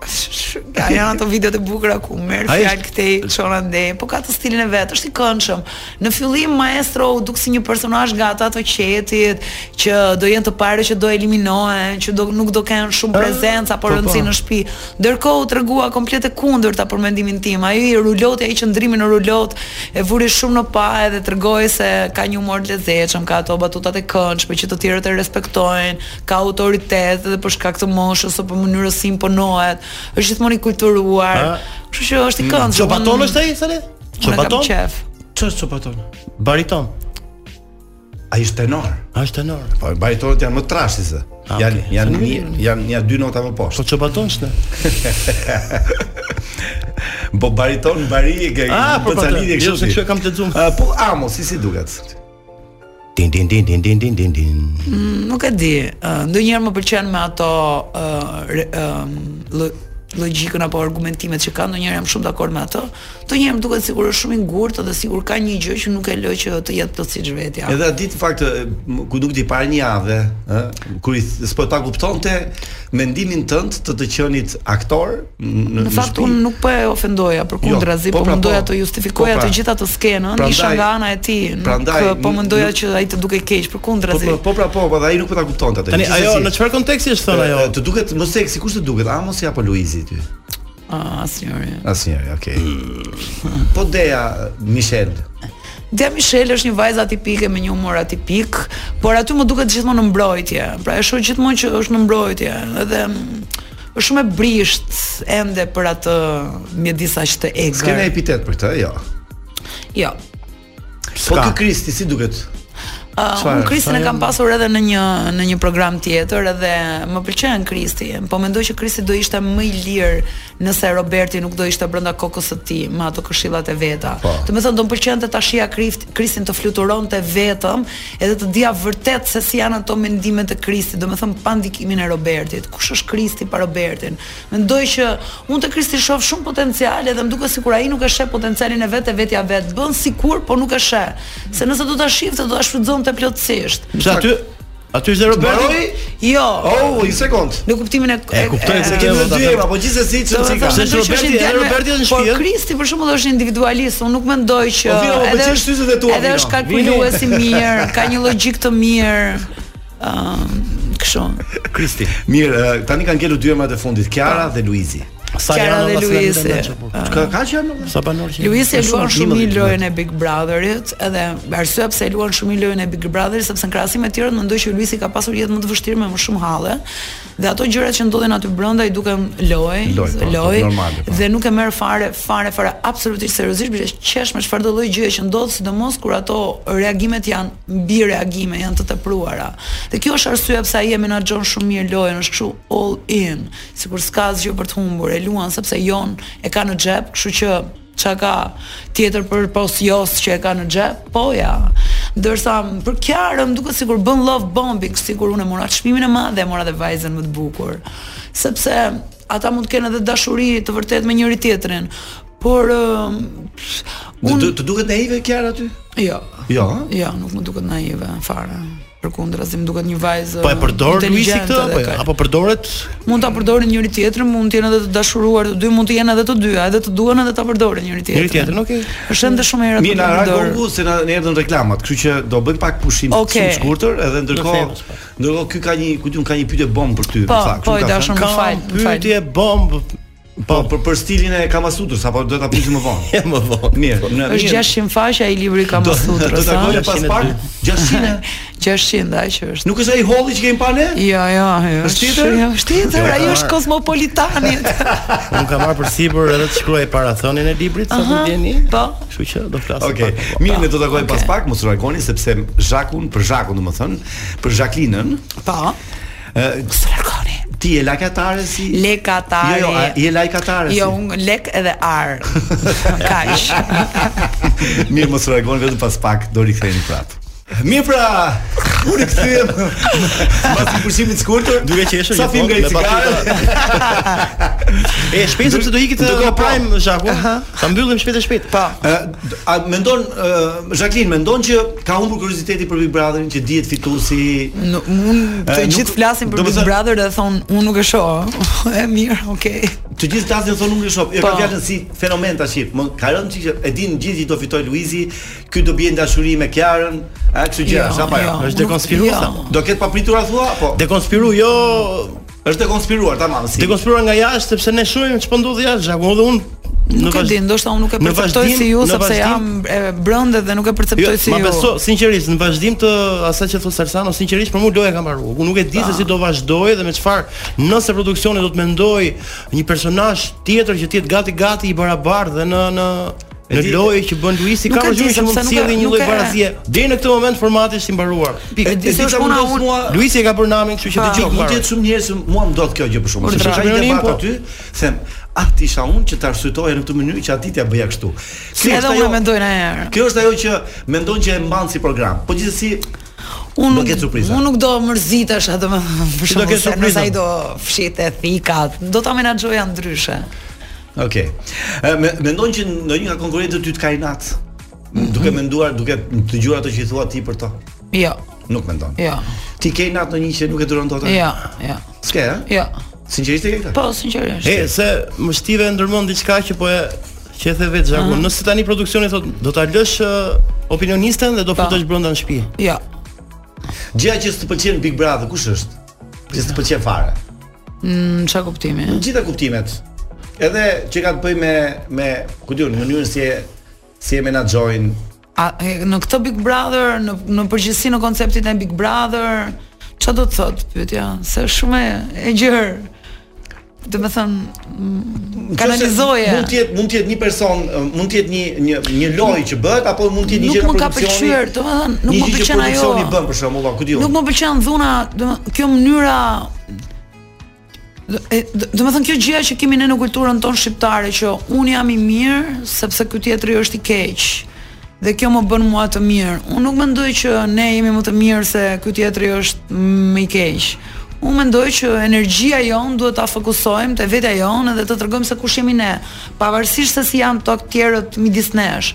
sh- sh- ka janë ato videot e bukura ku merr
Ai
fjalë këtej çon ande, po ka të stilin e vet, është i këndshëm. Në fillim maestro u duk si një personazh nga ata të qetit që do jenë të parë që do eliminohen, që do nuk do kenë shumë prezencë apo rëndësi në shtëpi. Ndërkohë u tregua komplet e kundërta për mendimin tim. Ai i ruloti, ai qëndrimi në rulot e vuri shumë në pa edhe tregoi se ka një humor të lezetshëm, ka ato batutat e këndshme që të tjerët e respektojnë, ka autoritet edhe për shkak të moshës ose për mënyrës si imponohet. Është gjithmonë i kulturuar.
Ha?
Kështu që është i këndshëm.
Çobaton
Unë-
është ai, Sale?
unë e kam
Çobaton?
qef.
Ç'është çupaton?
Bariton.
Ai është tenor.
A është tenor.
Po baritonët janë më trashi se.
Ah,
Janë
okay.
janë mirë, janë janë dy nota më
Po
poshtë.
çobaton s'ne.
Po bariton bari e ke
Ah, po, po,
ca
po,
lidhje
jo, se
si.
kjo e kam lexuar.
Ah, Po amo, si si duket?
Din din din din din din din din.
Mm, Nuk e di. ë, Ndonjëherë më pëlqen me ato ë, re- ëm, lo- logjikën apo argumentimet që ka, ndonjëherë jam shumë dakord me atë. Ndonjëherë më duket sikur është shumë i ngurtë dhe sikur ka një gjë që nuk e lë që të jetë plotësisht vetja.
Edhe atë ditë në fakt e, m- eh, ku nuk ti para një javë, ë, kur i th- s'po ta kuptonte mendimin tënd të të qenit aktor n- në
Në fakt
shtëpi.
unë nuk po e ofendoja, përkundrazi,
po,
po,
pra,
mundoja
po.
të justifikoja
Po, pra.
të gjitha të skenën,
Prandaj-
isha nga ana e tij, nuk
prandaj,
ë, po
n-
mendoja
nuk-
që ai të duke keq,
Po
përkundrazi.
po, po pra po, po dhe ai nuk po ta kuptonte atë.
Tani
Gjithsesi,
ajo në çfarë konteksti është
e,
thënë ajo?
e, Të duket më seksi, kush të duket? Amosi apo Luizi ty?
Ah, asnjëri.
Asnjëri, okay.
Hmm.
Po Dea Michel.
Dea Michelle është një vajzë atipike me një humor atipik, por aty më duket gjithmonë në mbrojtje. Pra e shoh gjithmonë që është në mbrojtje, edhe mm, është shumë e brisht ende për atë mjedis aq të
S'kena
egër.
epitet për këtë, jo.
Jo.
Po ky Kristi si duket?
Uh,
Çfarë,
unë Kristin e kam pasur edhe në një në një program tjetër edhe më pëlqen Kristi, po mendoj që Kristi do ishte më i lirë nëse Roberti nuk do ishte brenda kokës së tij me ato këshillat e veta.
Po.
Do të thënë do më pëlqente ta shija Krist, Kristin të fluturonte vetëm edhe të dija vërtet se si janë ato mendimet e Kristit, do të thënë pa ndikimin e Robertit. Kush është Kristi pa Robertin? Mendoj që unë te Kristi shoh shumë potencial edhe më duket sikur ai nuk e sheh potencialin e vetë e vetja vet. Bën sikur, po nuk e sheh. Se nëse do ta shifte do ta shfrytëzonte plotësisht.
Pse aty aty është dhe Roberti?
Baroi?
Jo.
Oh, një sekond.
Në kuptimin e
E kuptoj se
Se
kjo
kemi
do
dy
ta-
ema, po gjithsesi
Do të
çfarë
thonë,
Pse
mendoj që
Roberti-
është një djalë me-
Roberti është në shtëpi, ëh?
Por Kristi për shembull është individualist, unë nuk mendoj që
Po, Vino, po pëlqen syzet e tua,
edhe
Vino.
është kalkulues i mirë, ka një logjik të mirë. Ëm, kështu.
Kristi.
Mirë, eh, tani kanë ngelur dy emrat e fundit, Kiara dhe Luizi.
Sa
Kiara
janë
dhe
ata s'kan
Luisi.
internet, që po.
Ka ka që janë?
Sa banor që.
Luisi e
Ka
luan shumë mirë
11.
lojën e Big Brotherit, edhe arsyeja pse e luan shumë mirë lojën e Big Brotherit sepse në krahasim me të tjerët mendoj që Luisi ka pasur jetë më të vështirë me më shumë halle Dhe ato gjërat që ndodhin aty brenda i duken loj,
Loj, po,
loj
normale, po.
dhe nuk e merr fare, fare, fare absolutisht seriozisht, bile qesh me çfarë do lloj gjëje që ndodh, sidomos kur ato reagimet janë mbi reagime, janë të tepruara. Dhe kjo është arsyeja pse ai e menaxhon shumë mirë lojën, është kështu all in, sikur s'ka asgjë për të humbur, e luan sepse jon e ka në xhep, kështu që çka ka tjetër për pos jos që e ka në xhep, po ja. Ndërsa për kjarëm duket sikur bën love bombing, sikur unë e mora çmimin e madh dhe e mora dhe vajzën më të bukur. Sepse ata mund të kenë edhe dashuri të vërtet me njëri tjetrin, por ëm,
Unë... Të duket naive Kiara aty?
jo.
Jo, ha?
Jo, nuk më duket naive fare. Përkundra, si më duket një vajzë.
Po e përdor Luisi këtë
inteligjente
po
apo jo?
dhe ka-
apo përdoret
mund ta përdorin njëri tjetrin, mund të jenë edhe të dashuruar të dy, mund të jenë edhe të dyja, edhe të duan edhe ta përdorin njëri tjetrin.
njëri tjetrin, okay.
Është ende shumë herë
Mirë, na ra gongu se na na erdhën reklamat, kështu që do bëjmë pak pushim
Okej.
shumë shkurtër, edhe ndërkohë
Në themë,
ndërkohë ky ka një, ku diun ka një pyetje bomb për ty, më
Po,
tha, kështu
po, i
ka
dashur,
thënë.
më
Ka
fal, më fal.
pyetje bomb
Po, për për stilin e Kamasutrës apo do ta pyesim më vonë.
e më vonë.
Mirë, në
Është 600 faqe ai libri ka
Do do
Masutrës,
ta
ha?
gojë pas pak 600.
600 ai që është.
Nuk është ai holli që kemi pa ne?
Jo, jo, jo.
Është tjetër?
Jo, është tjetër, ai është kosmopolitani.
Unë kam marrë përsipër edhe të shkruaj parathonën e librit sa të vjeni.
Po.
Kështu që do flasim
Okej.
pak.
Mirë, ne do takojmë pas pak, mos reagoni sepse Zhakun, për Zhakun domethënë, për Zhaklinën,
Po.
ë
Së largoni.
ti je lajkatare si
Lekatare.
Jo, jo, a- je lajkatare si.
Jo, unë lek edhe ar. Kaq.
Mirë, mos reagoni vetëm pas pak, do riktheheni prapë. Mirë pra, u rikthyem. Mbas një pushimi të shkurtër,
Duke qeshur
sa
një
film
fond
nga i
me
cigare.
E shpejt sepse do ikit
Ndërkohë,
në
po.
prime Zhaku. Ta mbyllim shpejt e shpejt.
Po.
Ë, A mendon ë, Jacqueline mendon që ka humbur kurioziteti për Big Brotherin që dihet fituesi?
Nuk, unë të
E, nuk-
gjithë flasin për
do me
Big
thënë-
Brother dhe thonë unë nuk e shoh. e mirë, okay.
Të gjithë flasin thonë unë shoh. Jo
Po.
ka fjalën si fenomen tash. Më ka rënë çik që e din gjithë që do fitoj Luizi, ky do bie në dashuri me Kiarën, a kështu gjëra, sa pa jo.
është
nuk-
dekonspiruar,
jo.
thamë.
Do ketë papritura thua apo?
Dekonspiru jo
Është dekonspiruar tamam si.
dekonspiruar nga jashtë sepse ne shohim ç'po ndodh jashtë Zhaku edhe unë
Nuk e
vazh-
di, ndoshta unë nuk e
në
perceptoj
vazhdim-
si ju
në
sepse
vazhdim-
jam e, brëndë dhe nuk e
Jo,
perceptoj si
ma
ju.
beso, sinqerisht, në vazhdim të asaj që thot Sarsano, sinqerisht për mua loja ka mbaruar. Unë nuk e di se
Ah.
si do vazhdoj dhe me çfarë, nëse produksioni do të mendoj një personazh tjetër që të jetë gati gati i barabartë dhe në në në
di-
lojë që bën Luisi
Nuk
ka
e di,
vazhdim që
sepse
mund të
nuk e-
sjellë një
nuk
lloj
e-
barazie. Deri në këtë moment formati është i mbaruar.
E di se është puna unë.
Luisi e ka bërë namin, kështu që
Pa.
dëgjoj.
Mund të jetë shumë njerëz që mua më ndodh kjo gjë për shkakun.
Por
Sepse
të
ka një
shpërnojnë,
debat
po.
aty, them, ah ti isha unë që ta arsyetoja në këtë mënyrë që aty t'ja bëja kështu. Kjo
edhe
është
unë
ajo-
e mendoj në herë.
Kjo është ajo që mendon që e mban si program. Po gjithsesi
Unë
do ketë surpriza.
Unë nuk do mërzitesh atë më për
do
shkak
ketë
se
surprizën.
nëse ai do fshite thikat, do ta menaxhoja ndryshe.
Okej. Okay. Me, mendon që ndonjë nga konkurrentët ty të ka inat?
Mhm.
Duke menduar, duke dëgjuar ato që i thua ti për to.
Jo,
Nuk mendon.
jo,
Ti ke inat ndonjë që nuk e duron dot?
jo, jo.
S'ke, ha?
Jo.
Sinqerisht e ke këtë?
Po, sinqerisht.
E se më shtive ndërmend diçka që po e që e the vetë Xhaku. Nëse tani produksioni thot do ta lësh ë, opinionisten dhe do
Pa.
futesh brenda në shtëpi.
Jo.
Gjëja që s'të pëlqen Big Brother, kush është? Që s'të pëlqen fare.
Në çfarë Mm, kuptimi?
Në gjitha kuptimet. Edhe që ka të bëj me me, ku diun, mënyrën si e si e menaxhojnë.
A, e, në këtë Big Brother, në në përgjithësi në konceptin e Big Brother, çfarë do të thotë pyetja? Se është shumë e, e gjerë. Do të thënë mm, kanalizoje.
Mund të jetë mund të jetë një person, mund të jetë një një një lojë që bëhet apo mund të jetë një
Nuk
gjë
më ka
produksioni-
pëlqyer, domethënë, nuk
një
më
gjë që
pëlqen ajo.
Produksioni bën për shembull, ku diun.
jo. Nuk më pëlqen dhuna, domethënë kjo mënyra do- e, do- Domethënë kjo gjëja që kemi ne në kulturën tonë shqiptare që un jam i mirë sepse ky tjetri është i keq. Dhe kjo më bën mua të mirë. Unë nuk mendoj që ne jemi më të mirë se ky tjetri është më i keq. Unë mendoj që energjia jonë duhet ta fokusojmë te vetja jonë dhe të tregojmë se kush jemi ne, pavarësisht se si janë to të tjerët midis nesh.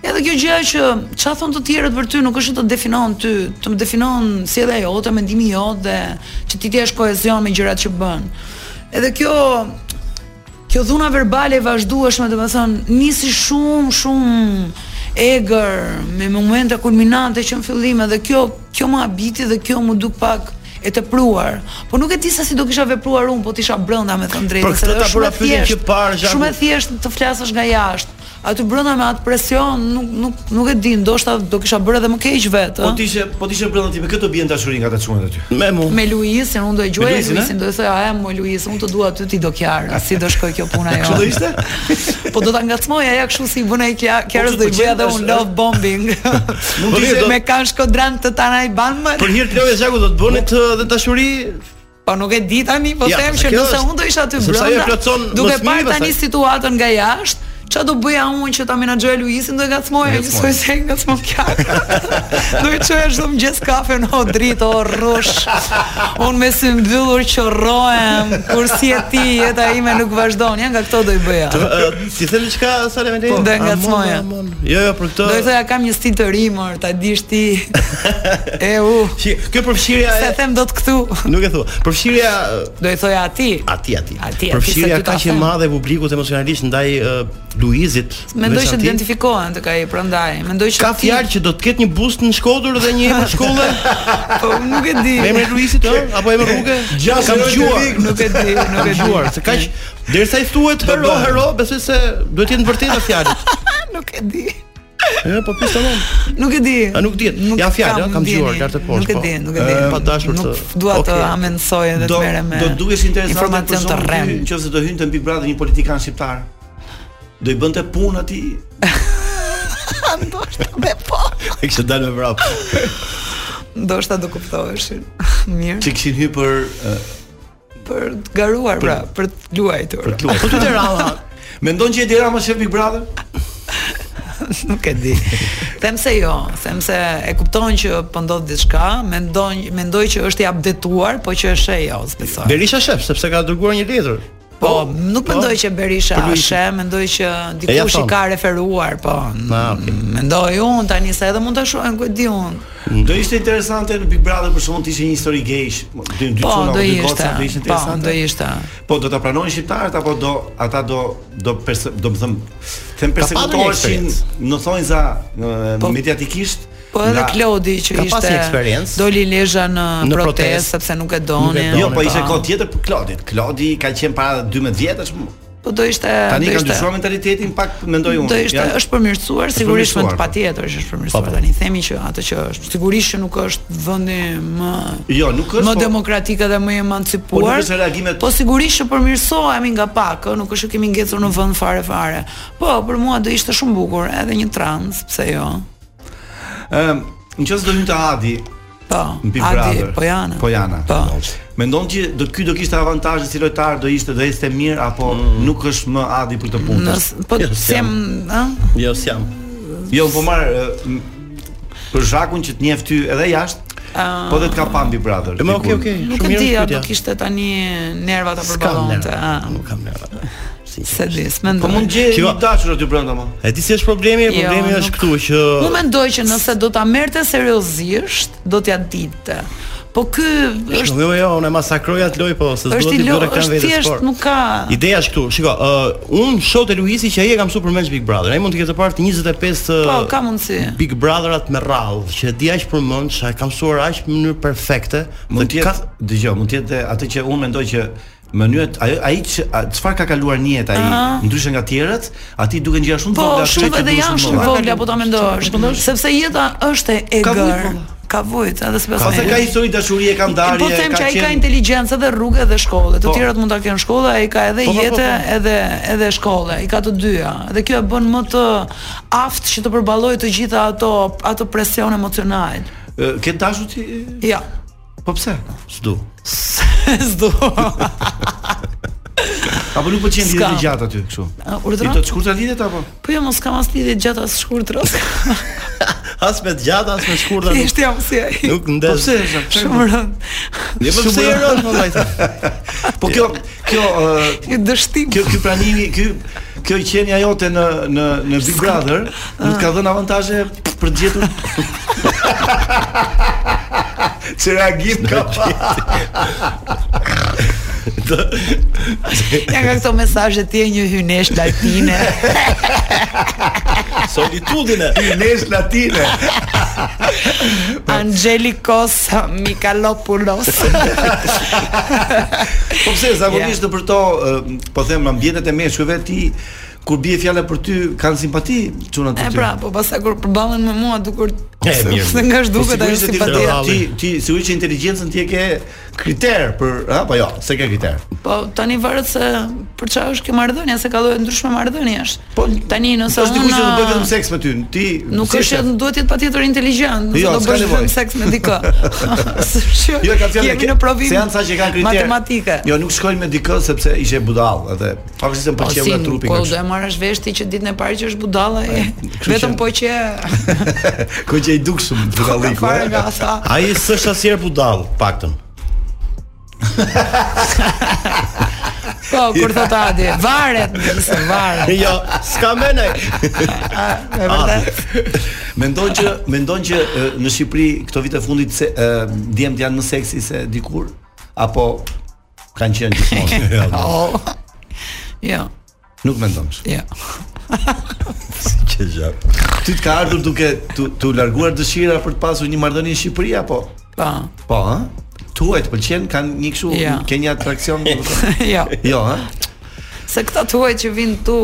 Edhe kjo gjëja që çfarë thon të tjerët për ty nuk është që të definon ty, të më definon sjellja jote, mendimi jot dhe që ti të jesh kohezion me gjërat që bën. Edhe kjo kjo dhuna verbale e vazhdueshme, domethënë nisi shumë shumë egër me momente kulminante që në fillim edhe kjo kjo më habiti dhe kjo më duk pak e tepruar. Po nuk e di se si do kisha vepruar unë, po të isha brenda me thënë drejtën,
Për
se
këtë
do
ta
është shumë
bëra
e
pyetjen
thjeshtë,
që parë, Zhaku.
Shumë e thjesht të flasësh nga jashtë. aty brenda me atë presion, nuk nuk nuk e di, ndoshta do kisha bërë edhe më keq vetë,
Po
ë.
ti ishe, po ti ishe brenda ti, me këtë bien dashuri nga ta çunet aty.
Me mu.
Me Luisin, unë do e gjuaj
Me Luisin,
Luisin, do e thoja, "A, mo Luis, unë të dua aty ti do kjarë, si do shkoj kjo puna jote."
Kështu do ishte?
po do ta ngacmoja ja kështu si i bën ai kja- kjarës
Po,
do i
po,
bëja edhe
qendash,
un
ë?
love bombing. Mund
të ishte-
me kan shkodran të tana i ban
Po-
më.
Për hir të Loja Zhaku do të bënit ë, dhe dashuri
Po nuk e di tani, po
Ja,
them
se
që
kjo
nëse
është-
unë do isha aty
sepse ajo e
brenda,
plotson
duke
mos mirë
parë tani
pastaj.
situatën nga jashtë, ç'a do bëja unë që ta menaxhoj Luisin do e ngacmoja, besoj se e ngacmon kjarë. do i çoja çdo mëngjes kafe në odrit, o rrush. Unë me sy mbyllur qorrohem, kur si e ti jeta ime nuk vazhdon, ja nga këto do i bëja.
ë, ti the diçka Sale me
Po, do e
Amon,
ngacmoja.
amon. Jo, jo, për këtë.
Do i thoja kam një stil të rimër, ta dish ti. e u.
Shi, kjo përfshirja
Se
e
them dot këtu.
nuk e thua. Përfshirja ë,
Do i thoja ati.
Ati, ati.
Ati, ati,
Përfshirja
se ty ta
kaq e
them.
madhe e publikut emocionalisht ndaj uh, Luizit.
Mendoj
veç
që
ati,
identifikohen të kaj prandaj. Mendoj që
Ka
ti-
fjalë që do të ketë një bust në Shkodër dhe një emër shkolle
po nuk e di.
me emrin e Luisit, ë? Apo emër rruge?
Gjasë
Kam
herë të
dëgjuar.
vik,
Nuk e di, nuk
Kam
e di.
dëgjuar se kaq derisa i thuhet hero
bëhet.
hero, besoj se duhet të jetë në vërtetë fjalët.
Nuk e di.
Ë, po pse tamam.
Nuk e di.
A, nuk dihet. Ja, fjalë, ë, kam dëgjuar
ndjenjë.
lart e poshtë,
Nuk e
po.
di, nuk e di.
Ë, pa dashur
Nuk
të-
dua të
Okej.
amendsoj edhe të
Do
merrem me.
do të dukesh interesante
informacion të rrem.
nëse do hynte në Big Brother një politikan shqiptar. Do i bënte punë atij.
Ndoshta me po.
E kishte dalë me vrap.
Ndoshta do kuptoheshin. Mirë,
Që kishin hyrë për eh,
për të garuar pra, për të luajtur.
për klub. Po ty te Rama. Mendon që Edi Rama shef Big Brother?
Nuk e di. Them se jo, them se e kupton që po ndodh diçka, mendoj mendoj që është i updetuar, po që është e jo, besoj.
Berisha shef, sepse ka dërguar një letër.
Po, nuk mendoj që Berisha
Për Luisin.
është, e, mendoj që
E, ja
dikush i
thon.
ka referuar, po.
Ah, okay.
Mendoj unë tani se edhe mund ta shohem ku e di unë.
Mm.
Do ishte interesante në Big Brother për shkakun të ishte një histori gejsh, dy dy
Po,
çuna
do
dy
ishte.
goca do ishte
Po,
interesante.
do ishte.
Po do ta pranojnë shqiptarët apo do ata do do perse, do të them them
pasur
përsekutoheshin
një
në thonjza në-
Po.
mediatikisht.
Po edhe
nga-
Klodi që
ka pas
ishte
një eksperiencë.
doli Lezha në,
Në
protestë
protestë,
sepse nuk e doni.
nuk e
Jo,
doni,
po ishte kohë tjetër për Klodit. Klodi ka qenë para 12 vjetësh. mu.
Po do ishte
Tani
do
kanë
ishte-
ndryshuar mentalitetin pak mendoj unë.
Do ishte
Ja,
është përmirësuar, sigurisht më
përmirësuar, po.
patjetër që është
Po, po.
përmirësuar tani. Themi që atë që është, sigurisht që nuk është vendi më
Jo, nuk është,
më
po-
demokratik edhe më i emancipuar.
Po nuk është reagimet-
Po sigurisht që përmirësohemi nga pak, ë, nuk është që kemi ngecur në vend fare fare. Po, për mua do ishte shumë bukur, edhe një trans, pse jo?
Ëm, nëse do hynte Adi,
Po,
Në Big
Adi
Brother.
Pojana.
Pojana.
Po.
Mendon që do ky do kishte avantazhe si lojtar, do ishte do ishte mirë apo
Mm.
nuk është më Adi për këtë punë?
Nës, po
Jo, s'jam.
sem, ë?
Jo, s'jam.
Jo, po marr eh, m- për zhakun që të njeh ty edhe jashtë.
Ah.
Po dhe të ka pam Big Brother.
E, Ma
dikur.
okay, okay.
Nuk e
Shumë mirë
di, a
pyetja.
do kishte tani nerva ta
S'kam
përballonte.
nerva,
ë.
Nuk kam nerva.
Se di, s'mendoj.
Po mund gjej
Shiko.
një dashur aty brenda më.
E di si është problemi? Problemi
Jo, nuk.
është këtu që
Unë mendoj që nëse do ta merrte seriozisht, do t'ja dinte. Po ky është
Jo, jo, unë e masakroj atë loj, po se
është
s'duhet
i
i
lo,
bëre
është
kanë vetë
thjesht
sport.
nuk ka.
Ideja është këtu, shiko, uh, unë shoh te Luisi që ai e ka mësuar përmes Big Brother. Ai mund të ketë parë të 25 uh,
Po, ka mundësi.
Big Brotherat me radhë, që e di aq përmend, që ai ka mësuar aq në mënyrë perfekte.
Mund të
ka
jetë, dëgjoj, mund të jetë atë që unë mendoj që mënyrët ajo ai që- a- çfarë ka kaluar në jetë ai, ndryshe nga tjerët, aty duken gjëra shumë të
Po,
vogla, kështu
shumë
që
edhe
duhen
janë
shumë vogla.
shumë vogla po ta mendosh, sepse jeta është e
Ka vujt, po.
egër.
valla.
Ka vujt, edhe s'besoj.
Pastaj ka histori dashurie, ka ndarje,
Po them që ai ka
qenë-
inteligjencë dhe rrugë dhe shkollë. Të
Po.
tjerët mund ta kenë shkollë, ai ka edhe
Po, po, po,
jetë
po.
edhe edhe shkollë. Ai ka të dyja. Dhe kjo e bën më të aftë që të përballojë të gjitha ato ato presion emocional.
Ë, Ke dashur ti?
Ja.
Po pse?
s'du.
S'do.
Apo nuk pëlqen
S'ka.
lidhje të gjatë aty kështu.
A, urdhra?
I të të shkurtra lidhet apo?
Po jo mos kam as lidhje gjatë as shkurtrës.
As me të gjatë, as me të shkurtë, nuk,
Thjesht jam si ai.
nuk
Po
ndes.
pse? Zha? Pse-
Shumë rënd.
Ne po pse e rrosh vallai.
Po kjo kjo ë,
Një dështim.
Kjo ky pranimi, ky kjo qenia jote në në në Big Brother
Ah.
nuk të ka dhënë avantazhe për të gjetur Që reagim ka pa
Ja nga këto mesazhe ti je një hynesh latine.
Po.
Solitudine.
nesh latine
Angelikos Mikalopoulos.
Po pse zakonisht në për to ë, Po them në ambjetet e meshkujve ti kur bie fjala për ty kanë simpati çuna të
E
ty.
pra, po pastaj kur përballen me mua dukur
E, mirë.
se nga zhduket
Po,
ajo
sigurisht e ti-
simpatia.
Ti ti sigurisht që inteligjencën ti e ke kriter për, apo jo, se ke kriter.
Po tani varet se për çfarë është kjo marrëdhënie, se ka lloje ndryshme marrëdhëniesh. Po tani nëse
Është dikush që do bëj vetëm
unë
seks me ty. Ti
nuk
si
është
shef?
duhet të jetë patjetër inteligjent, nëse
Jo,
do
s'ka
bësh
nevojë.
vetëm seks me dikë. Së-
Jo, ka fjalë
jemi në provim.
Se janë sa që kanë kriter.
Matematike.
Jo, nuk shkojnë me dikë sepse ishe budall, atë. Pavarësisht se më
Po
pëlqeu
si,
nga trupi
po
nga
do e marrësh vesh ti që ditën e parë që është budalla, e,
kështu
vetëm
që-
po që
kështu. Ku që i dukshëm budalliku.
fare
e.
nga asa.
eh? Ai s'është asnjëherë budall, paktën.
Po, kur thot Adi, varet, se varet.
Jo, s'ka mene.
E vërtet.
Mendon që mendon që e, në Shqipëri këto vite fundit se e, djemt janë më seksi se dikur apo kanë qenë gjithmonë? Jo,
Oh. Jo,
nuk mendon.
jo.
Që gjap.
Ty të ka ardhur duke tu, tu larguar dëshira për të pasur një marrëdhënie në Shqipëri apo?
Po.
Po, ha? Tuaj të pëlqen, kanë një kështu,
Jo.
ke një atraksion. do të thotë?
Jo.
jo, ha?
Se këta tuaj që vinë tu,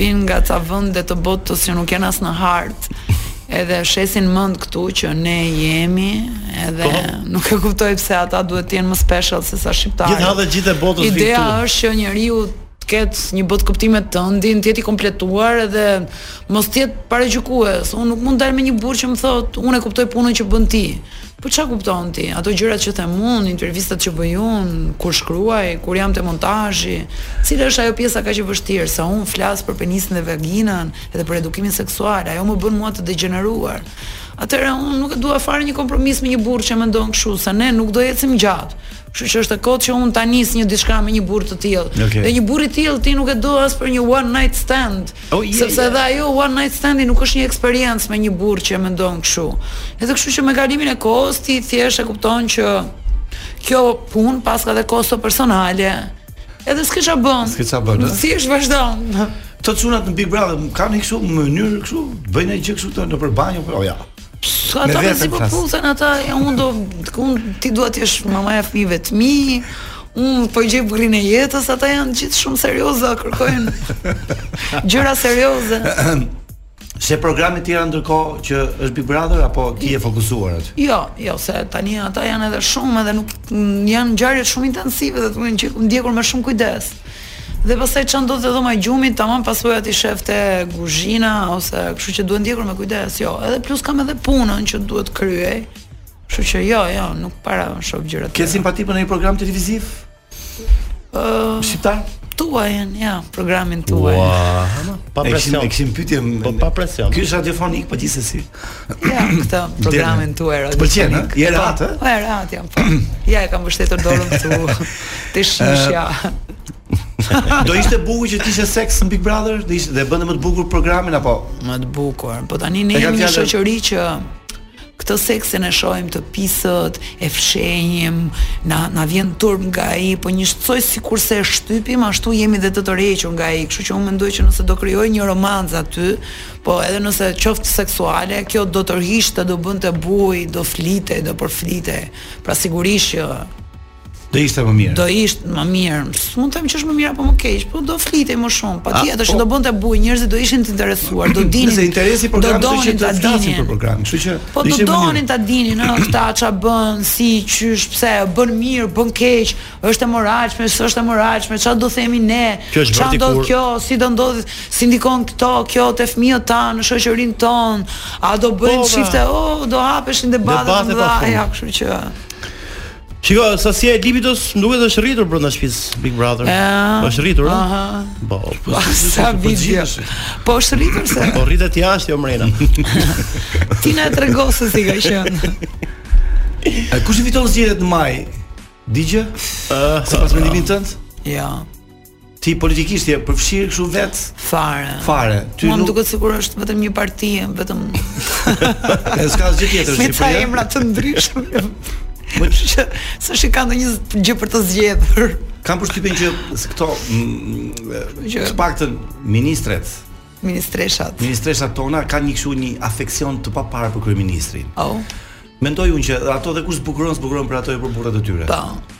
vinë nga ca vende të botës që nuk janë as në hartë. Edhe shesin mend këtu që ne jemi, edhe nuk e kuptoj pse ata duhet të jenë më special se sa shqiptarët.
Gjithë hadhe gjithë e botës vinë
Ideja
këtu.
është që njeriu të ketë një botë kuptime të ndin, të jetë i kompletuar edhe mos të jetë paragjykues. Unë nuk mund të dal me një burr që më thotë, unë e kuptoj punën që bën ti. Po çfarë kupton ti? Ato gjërat që them unë, intervistat që bëj unë, kur shkruaj, kur jam te montazhi, cila është ajo pjesa kaq e vështirë sa unë flas për penisin dhe vaginën edhe për edukimin seksual, ajo më bën mua të degeneruar. Atëherë unë nuk e dua fare një kompromis me një burr që mendon kështu, se ne nuk do ecim gjatë. Kështu që është e kotë që unë ta nis një diçka me një burr të tillë.
Okej.
Dhe një burr i tillë ti nuk e do as për një one night stand.
Oh, je,
sepse
je.
edhe ajo one night standi nuk është një eksperiencë me një burr që mendon kështu. Edhe kështu që me kalimin e kohës ti thjesht e kupton që kjo punë pas ka dhe kosto personale. Edhe s'ke ç'a bën.
S'ke ç'a bën, eh? a?
Thjesht vazhdon.
Këto çunat në Big Brother kanë një kështu mënyrë kështu, bëjnë një gjë kështu të nëpër banjo, po ja.
Ata
Me
me
veten
si po
flas.
puthen ata, ja unë do unë ti dua të jesh mama e fëmijëve të mi. Unë po i gjej burin e jetës, ata janë gjithë shumë serioza, kërkojnë gjëra serioze.
Se programe të tjera ndërkohë që është Big Brother apo ti je fokusuar atë?
Jo, jo, se tani ata janë edhe shumë edhe nuk m, janë ngjarje shumë intensive dhe të mund që ndjekur me shumë kujdes. Dhe pastaj çan do të dhoma gjumit, tamam pasojat i shefte kuzhina ose kështu që duhet ndjekur me kujdes, jo. Edhe plus kam edhe punën që duhet kryej. Kështu që jo, jo, nuk para shoh gjëra.
Ke
tjera.
simpati për një program televiziv? Ë, shqiptar?
tuajën, ja, programin tuaj.
Ua, pa
E kishim e
presion.
kishim pyetje.
Po, pa presion.
Ky është radiofonik, po gjithsesi.
Ja, këtë programin tuaj.
Të pëlqen, eh?
radiofonik.
ë? Je rehat, ë?
Po, po, e rehat jam, po. Ja, e kam mbështetur dorën këtu. Te shishja.
Do ishte bukur që të ishte seks në Big Brother, do ishte dhe bënte më të bukur programin apo?
Më të bukur. Po tani
E
ne
ka
jemi një
fjallën-
shoqëri që këtë seksin e shohim të pisët, e fshenjim, na na vjen turp nga ai, po një shqoj sikurse e shtypim, ashtu jemi dhe të tërhequr nga ai. Kështu që unë mendoj që nëse do krijoj një romanc aty, po edhe nëse qoftë seksuale, kjo do tërhiqte, do bënte bujë, do flitej, do përflitej. Pra sigurisht që
Do ishte më mirë.
Do ishte më mirë. Mund të them që është më mirë apo më keq, po do flitej më shumë. Patjetër që do bënte bujë, njerëzit do ishin të interesuar, do dinin.
po. Nëse interesi i programit do
donin
ishte të
ta
flasin
dinin.
për program, kështu që
Po
do
do
ishte më mirë.
donin ta dinin, ëh, këta ç'a bën, si, qysh, pse, bën mirë, bën keq, është e moralshme, s'është e moralshme, ç'a do themi ne,
Kjo është
ç'a
bërti
ndodh
kur-
kjo, si do ndodh, si ndikon këto, kjo te fëmijët tanë, në shoqërinë tonë, a do bëjnë
Po, pra.
shifte, oh, do hapeshin debate
Debate pa
të mëdha,
fund.
ja, kështu që
Shiko, sasia e libidos më duket është rritur brenda shtëpisë Big Brother.
Ja.
Është rritur, ëh.
Aha.
Po, po.
Sa video. Po është rritur se
Po rritet jashtë jo mrena.
ti na e trego se si ka qenë.
E, Kush i fiton zgjedhjet në maj? Digje? Sipas mendimit tënd?
Jo,
Ti politikisht je përfshirë kështu vetë
fare.
fare. Ty
Mua më
nuk
duket sikur është vetëm një parti, vetëm
e s'ka asgjë tjetër
me
në
ca
Shqipëri.
emra të ndryshme. Kështu që s'është që ka ndonjë gjë për të zgjedhur.
Kam përshtypjen që s- këto mm,
Që-
të paktën ministret,
Ministreshat.
ministreshat tona kanë një kështu një afeksion të paparë për kryeministrin.
Oh,
Mendoj unë që ato dhe kur zbukuron, zbukuron për ato e për burrat e tyre.
po.
eh,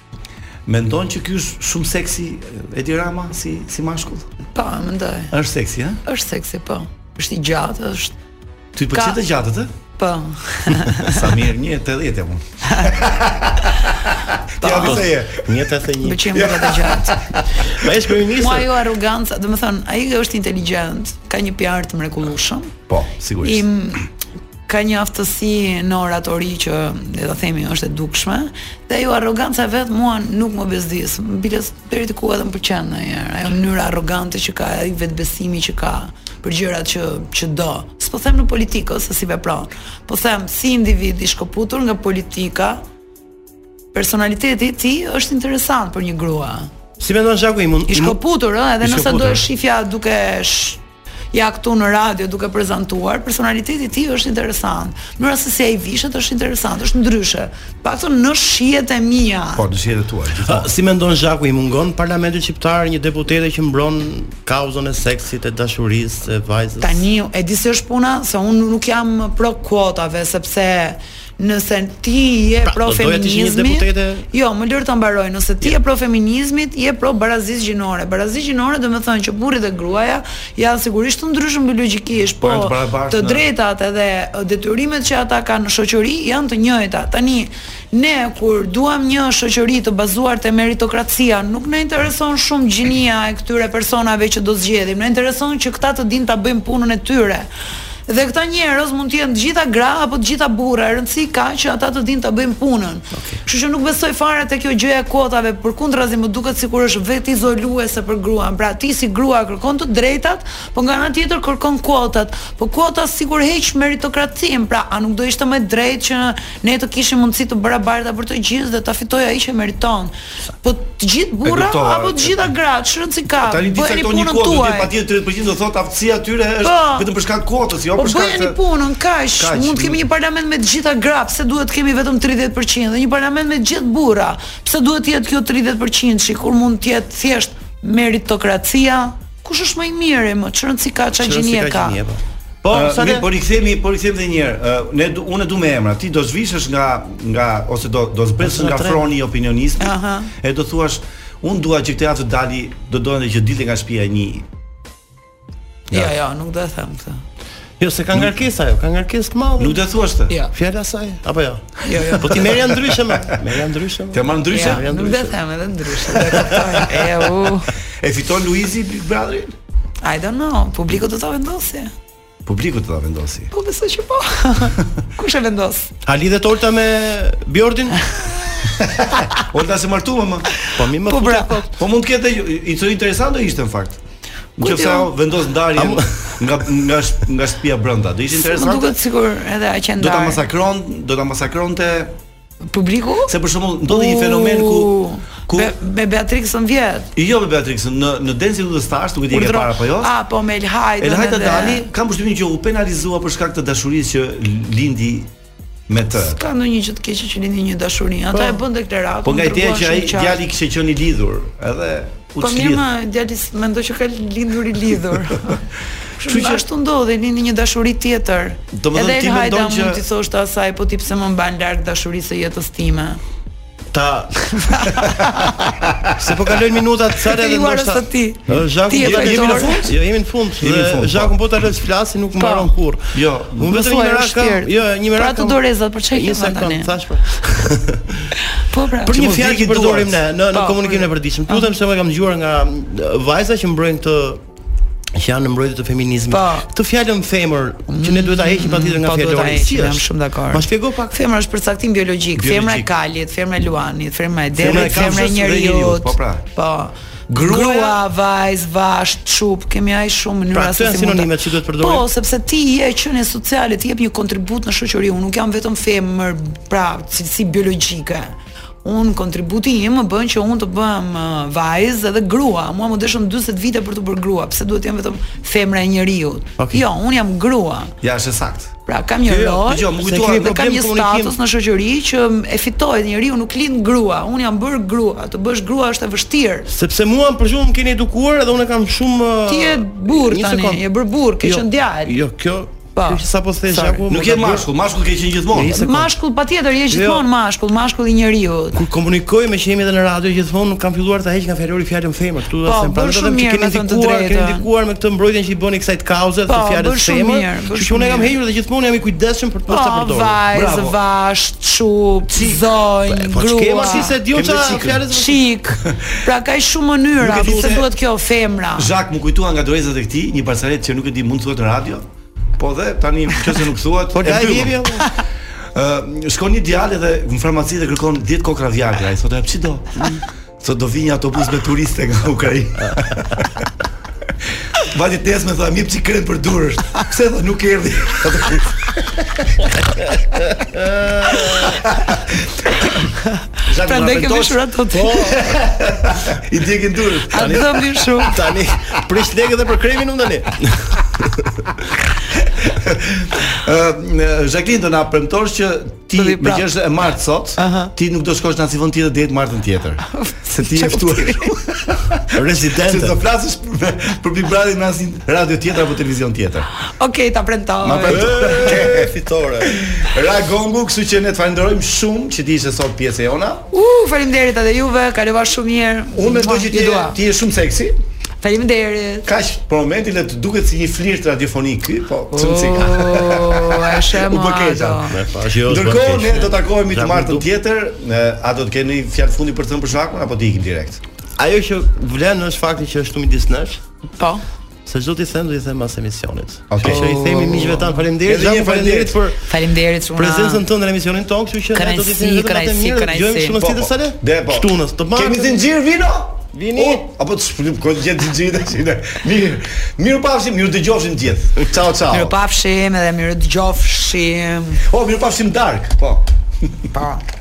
Mendon që ky është shumë seksi Edi Rama si si mashkull?
Po, e mendoj.
Është seksi, ha?
Është seksi, po. Është i gjatë, është
Ty
Ka-
pëlqen të gjatët, ë?
po.
Sa mirë, një 80 jam unë.
Ja
Po.
disa je. 181.
Pëlqen më të gjatë.
Ma jesh kryeminist.
Mua jo arroganca, domethënë, ai është inteligjent, ka një PR të mrekullueshëm.
Po, sigurisht.
im ka një aftësi në oratori që le ta themi është e dukshme dhe ajo arroganca e vet mua nuk më bezdis. Biles deri diku edhe më pëlqen ndonjëherë. Ajo mënyra arrogante që ka, ai vetbesimi që ka për gjërat që që do. S'po them në politikë ose si vepron. Po them si individ i shkëputur nga politika, personaliteti i tij është interesant për një grua.
Si mendon Zhaku i mund?
I shkëputur ë, edhe
I
nëse
po
shkëputur.
do e shifja duke sh... ja këtu në radio duke prezantuar, personaliteti i tij është interesant. Mënyra se si ai vishet është interesant, është ndryshe. Paktën në shijet e mia.
Po, në shihet e tua,
A,
gjithmonë.
Si mendon Zhaku i mungon parlamentin shqiptar një deputete që mbron kauzën e seksit, e dashurisë, e vajzës?
Tani e di se është puna se unë nuk jam pro kuotave sepse nëse ti je
Pra,
pro
do doja të ishe një
feminizmit,
deputete-
jo, më lër ta mbaroj, nëse ti je pro feminizmit, je pro barazisë gjinore. Barazisë gjinore do të thonë që burri dhe gruaja janë sigurisht të ndryshëm biologjikisht, po
janë të barabartë
të
në-
drejtat edhe detyrimet që ata kanë në shoqëri janë të njëjta. Tani ne kur duam një shoqëri të bazuar te meritokracia, nuk na intereson shumë gjinia e këtyre personave që do zgjedhim. Na intereson që këta të dinë ta bëjnë punën e tyre. Dhe këta njerëz mund të jenë të gjitha gra apo të gjitha burra, e rëndësi ka që ata të dinë ta bëjnë punën. Kështu që nuk besoj fare te kjo gjëja e kuotave, përkundrazi më duket sikur është vetë izoluese për gruan. Pra ti si grua kërkon të drejtat, po nga ana tjetër kërkon kuotat. Po kuota sikur heq meritokracinë, pra a nuk do ishte më drejt që ne të kishim mundësi të barabarta për të gjithë dhe ta fitojë ai që meriton. Po të gjithë burra
kuptova,
apo të gjitha gratë, çrëndsi ka.
Tani di
Bëheni
cakton një
punën
kuotë, do të jetë
po tuaj.
patjetër 30% do thotë aftësia e tyre është
Po.
vetëm për shkak të kuotës, jo
Po
për shkak
bëjeni punën, kaq.
Kaq,
Mund të kemi një parlament me të gjitha gra, pse duhet të kemi vetëm 30% dhe një parlament me të gjithë burra? Pse duhet të jetë kjo 30%, shi, kur mund të jetë thjesht meritokracia? Kush është më i miri më? Çfarë si ka çfarë
Qërën si
gjinie ka?
gjinie, po. Po,
Ë,
sa
mirë,
ne
po rikthehemi, po rikthehemi edhe një herë. Ë, ne du, unë du me emra. Ti do zhvishesh nga nga ose do do zbresësh
Ose nga
nga
treni.
froni i opinionizmit.
Aha.
E do thuash, unë dua që këtë javë të dali, do doja që dilte nga shtëpia një.
Jo, jo, nuk do e them këtë.
Jo, se ka ngarkesë ajo, ka ngarkesë të madhe.
Nuk do thuash të.
Jo.
Fjala e saj apo jo?
Jo, jo.
Po ti merja ndryshe më. Merja ndryshe më.
Te marr ndryshe?
Ja, nuk do e them edhe ndryshe. Do e kuptoj. E u.
E fiton Luizi Big Brotherin?
I don't know, publiku do ta vendosë.
Publiku të ta vendosi.
Po besoj që po. Kush e vendos?
Ha lidhet Olta me Bjordin?
Olta se martuam më.
Po mi më
Po
fut-
bra.
Po mund të ketë i çdo interesant do ishte në fakt.
Ku
Nëse
t'jo?
ajo vendos ndarjen nga nga sh- nga shtëpia brenda, do ishte
Më
interesante.
duket sikur edhe aq e
Do ta
ndarë.
masakron, do ta masakronte
Publiku?
Se për shembull ndodhi një fenomen ku
U,
ku
Be, me Beatrixën vjet.
jo me Beatrix në në Dancing with the Stars, nuk e di e ke
Urdhro-
para apo jo.
A, po me Elhajt.
Elhajta Dali kam përshtypjen që u penalizua për shkak të dashurisë që lindi me të.
Ka ndonjë gjë të keqe që lindi një dashuri. Ata e bën deklaratë.
Po nga
më
ideja
treguan
që ai
shumë qartë.
djali kishte qenë i lidhur, edhe u
Po mirë
çlidh.
më, djali s- mendoj që ka lindur i lidhur. Kështu që ashtu ndodhi, lindi një dashuri tjetër.
Do më thënë,
Edhe
ti
Elhajda
mendon që-
mund t'i thosh të asaj, po ti pse më mban larg dashurisë së jetës time.
Ta Se po kalojnë minutat sa
Ti
edhe
ju arës
ndoshta.
të ti.
Ë, Zhaku,
Ti je
jemi- jemi në
fajtor.
fund? Jo, jemi në fund.
Jemi në fund,
Dhe
po.
Zhaku po ta lësh flasin, nuk mbaron kurrë.
Jo,
unë vetëm
thuaj,
një merak
është
kam.
vlerë.
Jo, një merak.
Pra të
kam-
dorezat, për çfarë
Një
i ke vënë
sekond,
tani?
Thash për.
Po pra.
Për
Që
një
mos
fjalë
vdeki
që përdorim ne
duart.
në në
Po,
komunikimin e përditshëm. Lutem se unë e kam dëgjuar nga mm, vajza që mbrojnë këtë që janë në mbrojtje të feminizmit.
Po.
Këtë fjalën femër që ne duhet ta heqim patjetër nga
Po, duhet ta
fjalori.
heqim, jam shumë dakord.
Ma shpjego pak.
Femra është përcaktim biologjik,
Biologjik.
femra e kalit, femra e luanit, femra e
Femra e
derit,
kamshës
femra e
dhe
njeriut.
njeriut, po pra.
Po.
Gruaja-
Grua, vajz, vasht, çup, kemi ai shumë mënyra
Pra, këto janë
mund ta-
sinonimet që duhet përdorim.
Po, sepse ti je qenie sociale, ti jep një kontribut në shoqëri, unë nuk jam vetëm femër, pra, cilësi biologjike. Unë kontributi im më bën që unë të bëm uh, vajzë edhe grua. Mua më dëshën 40 vite për të bërë grua, pse duhet të jam vetëm femra e njeriut?
Okej.
Jo, unë jam grua.
Ja, është e saktë.
Pra kam një
Jo, jo,
po
rol,
dëgjoj, më
se
kujtoa,
kemi
dhe
kam
problem
një
komunikim.
status në shoqëri që e fitoj njeriu nuk lind grua. Unë jam bër grua, të bësh grua është e vështirë.
Sepse mua për shkakun keni edukuar edhe unë kam shumë
Ti je burr
Një
tani,
sekond.
je bër burr, ke
Jo,
qenë djalë.
Jo, kjo
Po.
Kjo që sapo thesh
Sorry.
Jaku,
Nuk je mashkull, mashkull ke qenë gjithmonë.
Një sekond.
Mashkull patjetër, je
Jo.
gjithmonë mashkull, mashkull i njeriu.
Kur komunikojmë që jemi edhe në radio gjithmonë nuk kam filluar ta heq nga fjalori fjalën femër. Ktu do
Po,
të them,
bën
prandaj do
shumë
them që
mirë,
keni
me thënë të
ndikuar, keni
drejtën.
ndikuar me këtë mbrojtjen që i bëni kësaj të kauze të
Po, bën
fjalës
shumë
femër.
mirë, bën
Kështu që
shumë
unë e kam
mirë. Po,
hequr dhe gjithmonë jam i kujdesshëm për të mos ta përdor.
vajz,
Bravo.
vasht, çup, zonj,
Po ç'kem
grua.
si se diun
Kem
çfarë
veçikën.
fjalës
Shik. Pra ka shumë mënyra,
Nuk e di
po se
se-
duhet kjo femra.
Zhak më kujtua nga dorezat e këtij, një parsalet që nuk e di mund të thuhet në radio. Po dhe tani nëse nuk thuhet,
Po la
e
jepi.
mbyllëm. Ë, shkon një djalë dhe në farmaci dhe kërkon 10 kokra Viagra. Ai thotë, "A, "Psi do?" Thotë, "Do vi një autobus me turiste nga Ukrainë." Vati tesme tha, "Mjep çik krem për durësh." Pse tha, "Nuk erdhi." Zhak
Prandaj
më
kemi
raportosh,
shurat të të-
Po. I djekin durët.
A do mbi shumë.
Tani prish lekë edhe për kremin unë tani.
Ë, Jacqueline do na premtosh që ti
Do
me
vi prap.
që është e martë sot, ti nuk do shkosh në asnjë vend tjetër deri të martën tjetër. Se ti je ftuar. Se
Residente.
do flasësh për, për Big Brother në asnjë radio tjetër apo televizion tjetër.
Okej, ta premtoj.
Ma premto.
E, fitore.
Ra Gongu, kështu që ne të falenderojmë shumë që ti ishe sot pjesë e jona.
U, faleminderit edhe juve, kalova shumë mirë.
Unë mendoj që ti
Ju
je,
dua.
ti je shumë seksi.
Faleminderit.
Kaq për momentin le të duket si një flirt radiofonik ky, po
Oh.
shumë si ka.
O, e
U
shemo.
bë keqa. Ndërkohë ne do takohemi të martën tjetër, e, a do të keni fjalë fundi për të thënë për shakun apo ti ikim direkt?
Ajo që vlen është fakti që është shumë midis nesh.
Po.
Se çdo t'i them, do t'i them pas emisionit.
Okej.
Kështu që i themi miqve tan faleminderit,
Edhe një
jam faleminderit për
Faleminderit shumë.
prezencën tënde në emisionin tonë, kështu që ne do t'i
Kënaqësi,
themi vetëm atë
kënaqësi,
mirë.
kënaqësi.
Gjojmë shumë
Po,
sitës
po.
sale?
De, po.
Shtunës, të martën.
Kemi zinxhir vino?
Vini.
O, apo të shpëlim kohë gjetë zinxhir tash. ne. Mirë. Mirë pafshim, mirë dëgjofshim të gjithë. Ciao ciao.
Mirë pafshim edhe mirë dëgjofshim.
Oh, mirë pafshim dark. Po.
Po.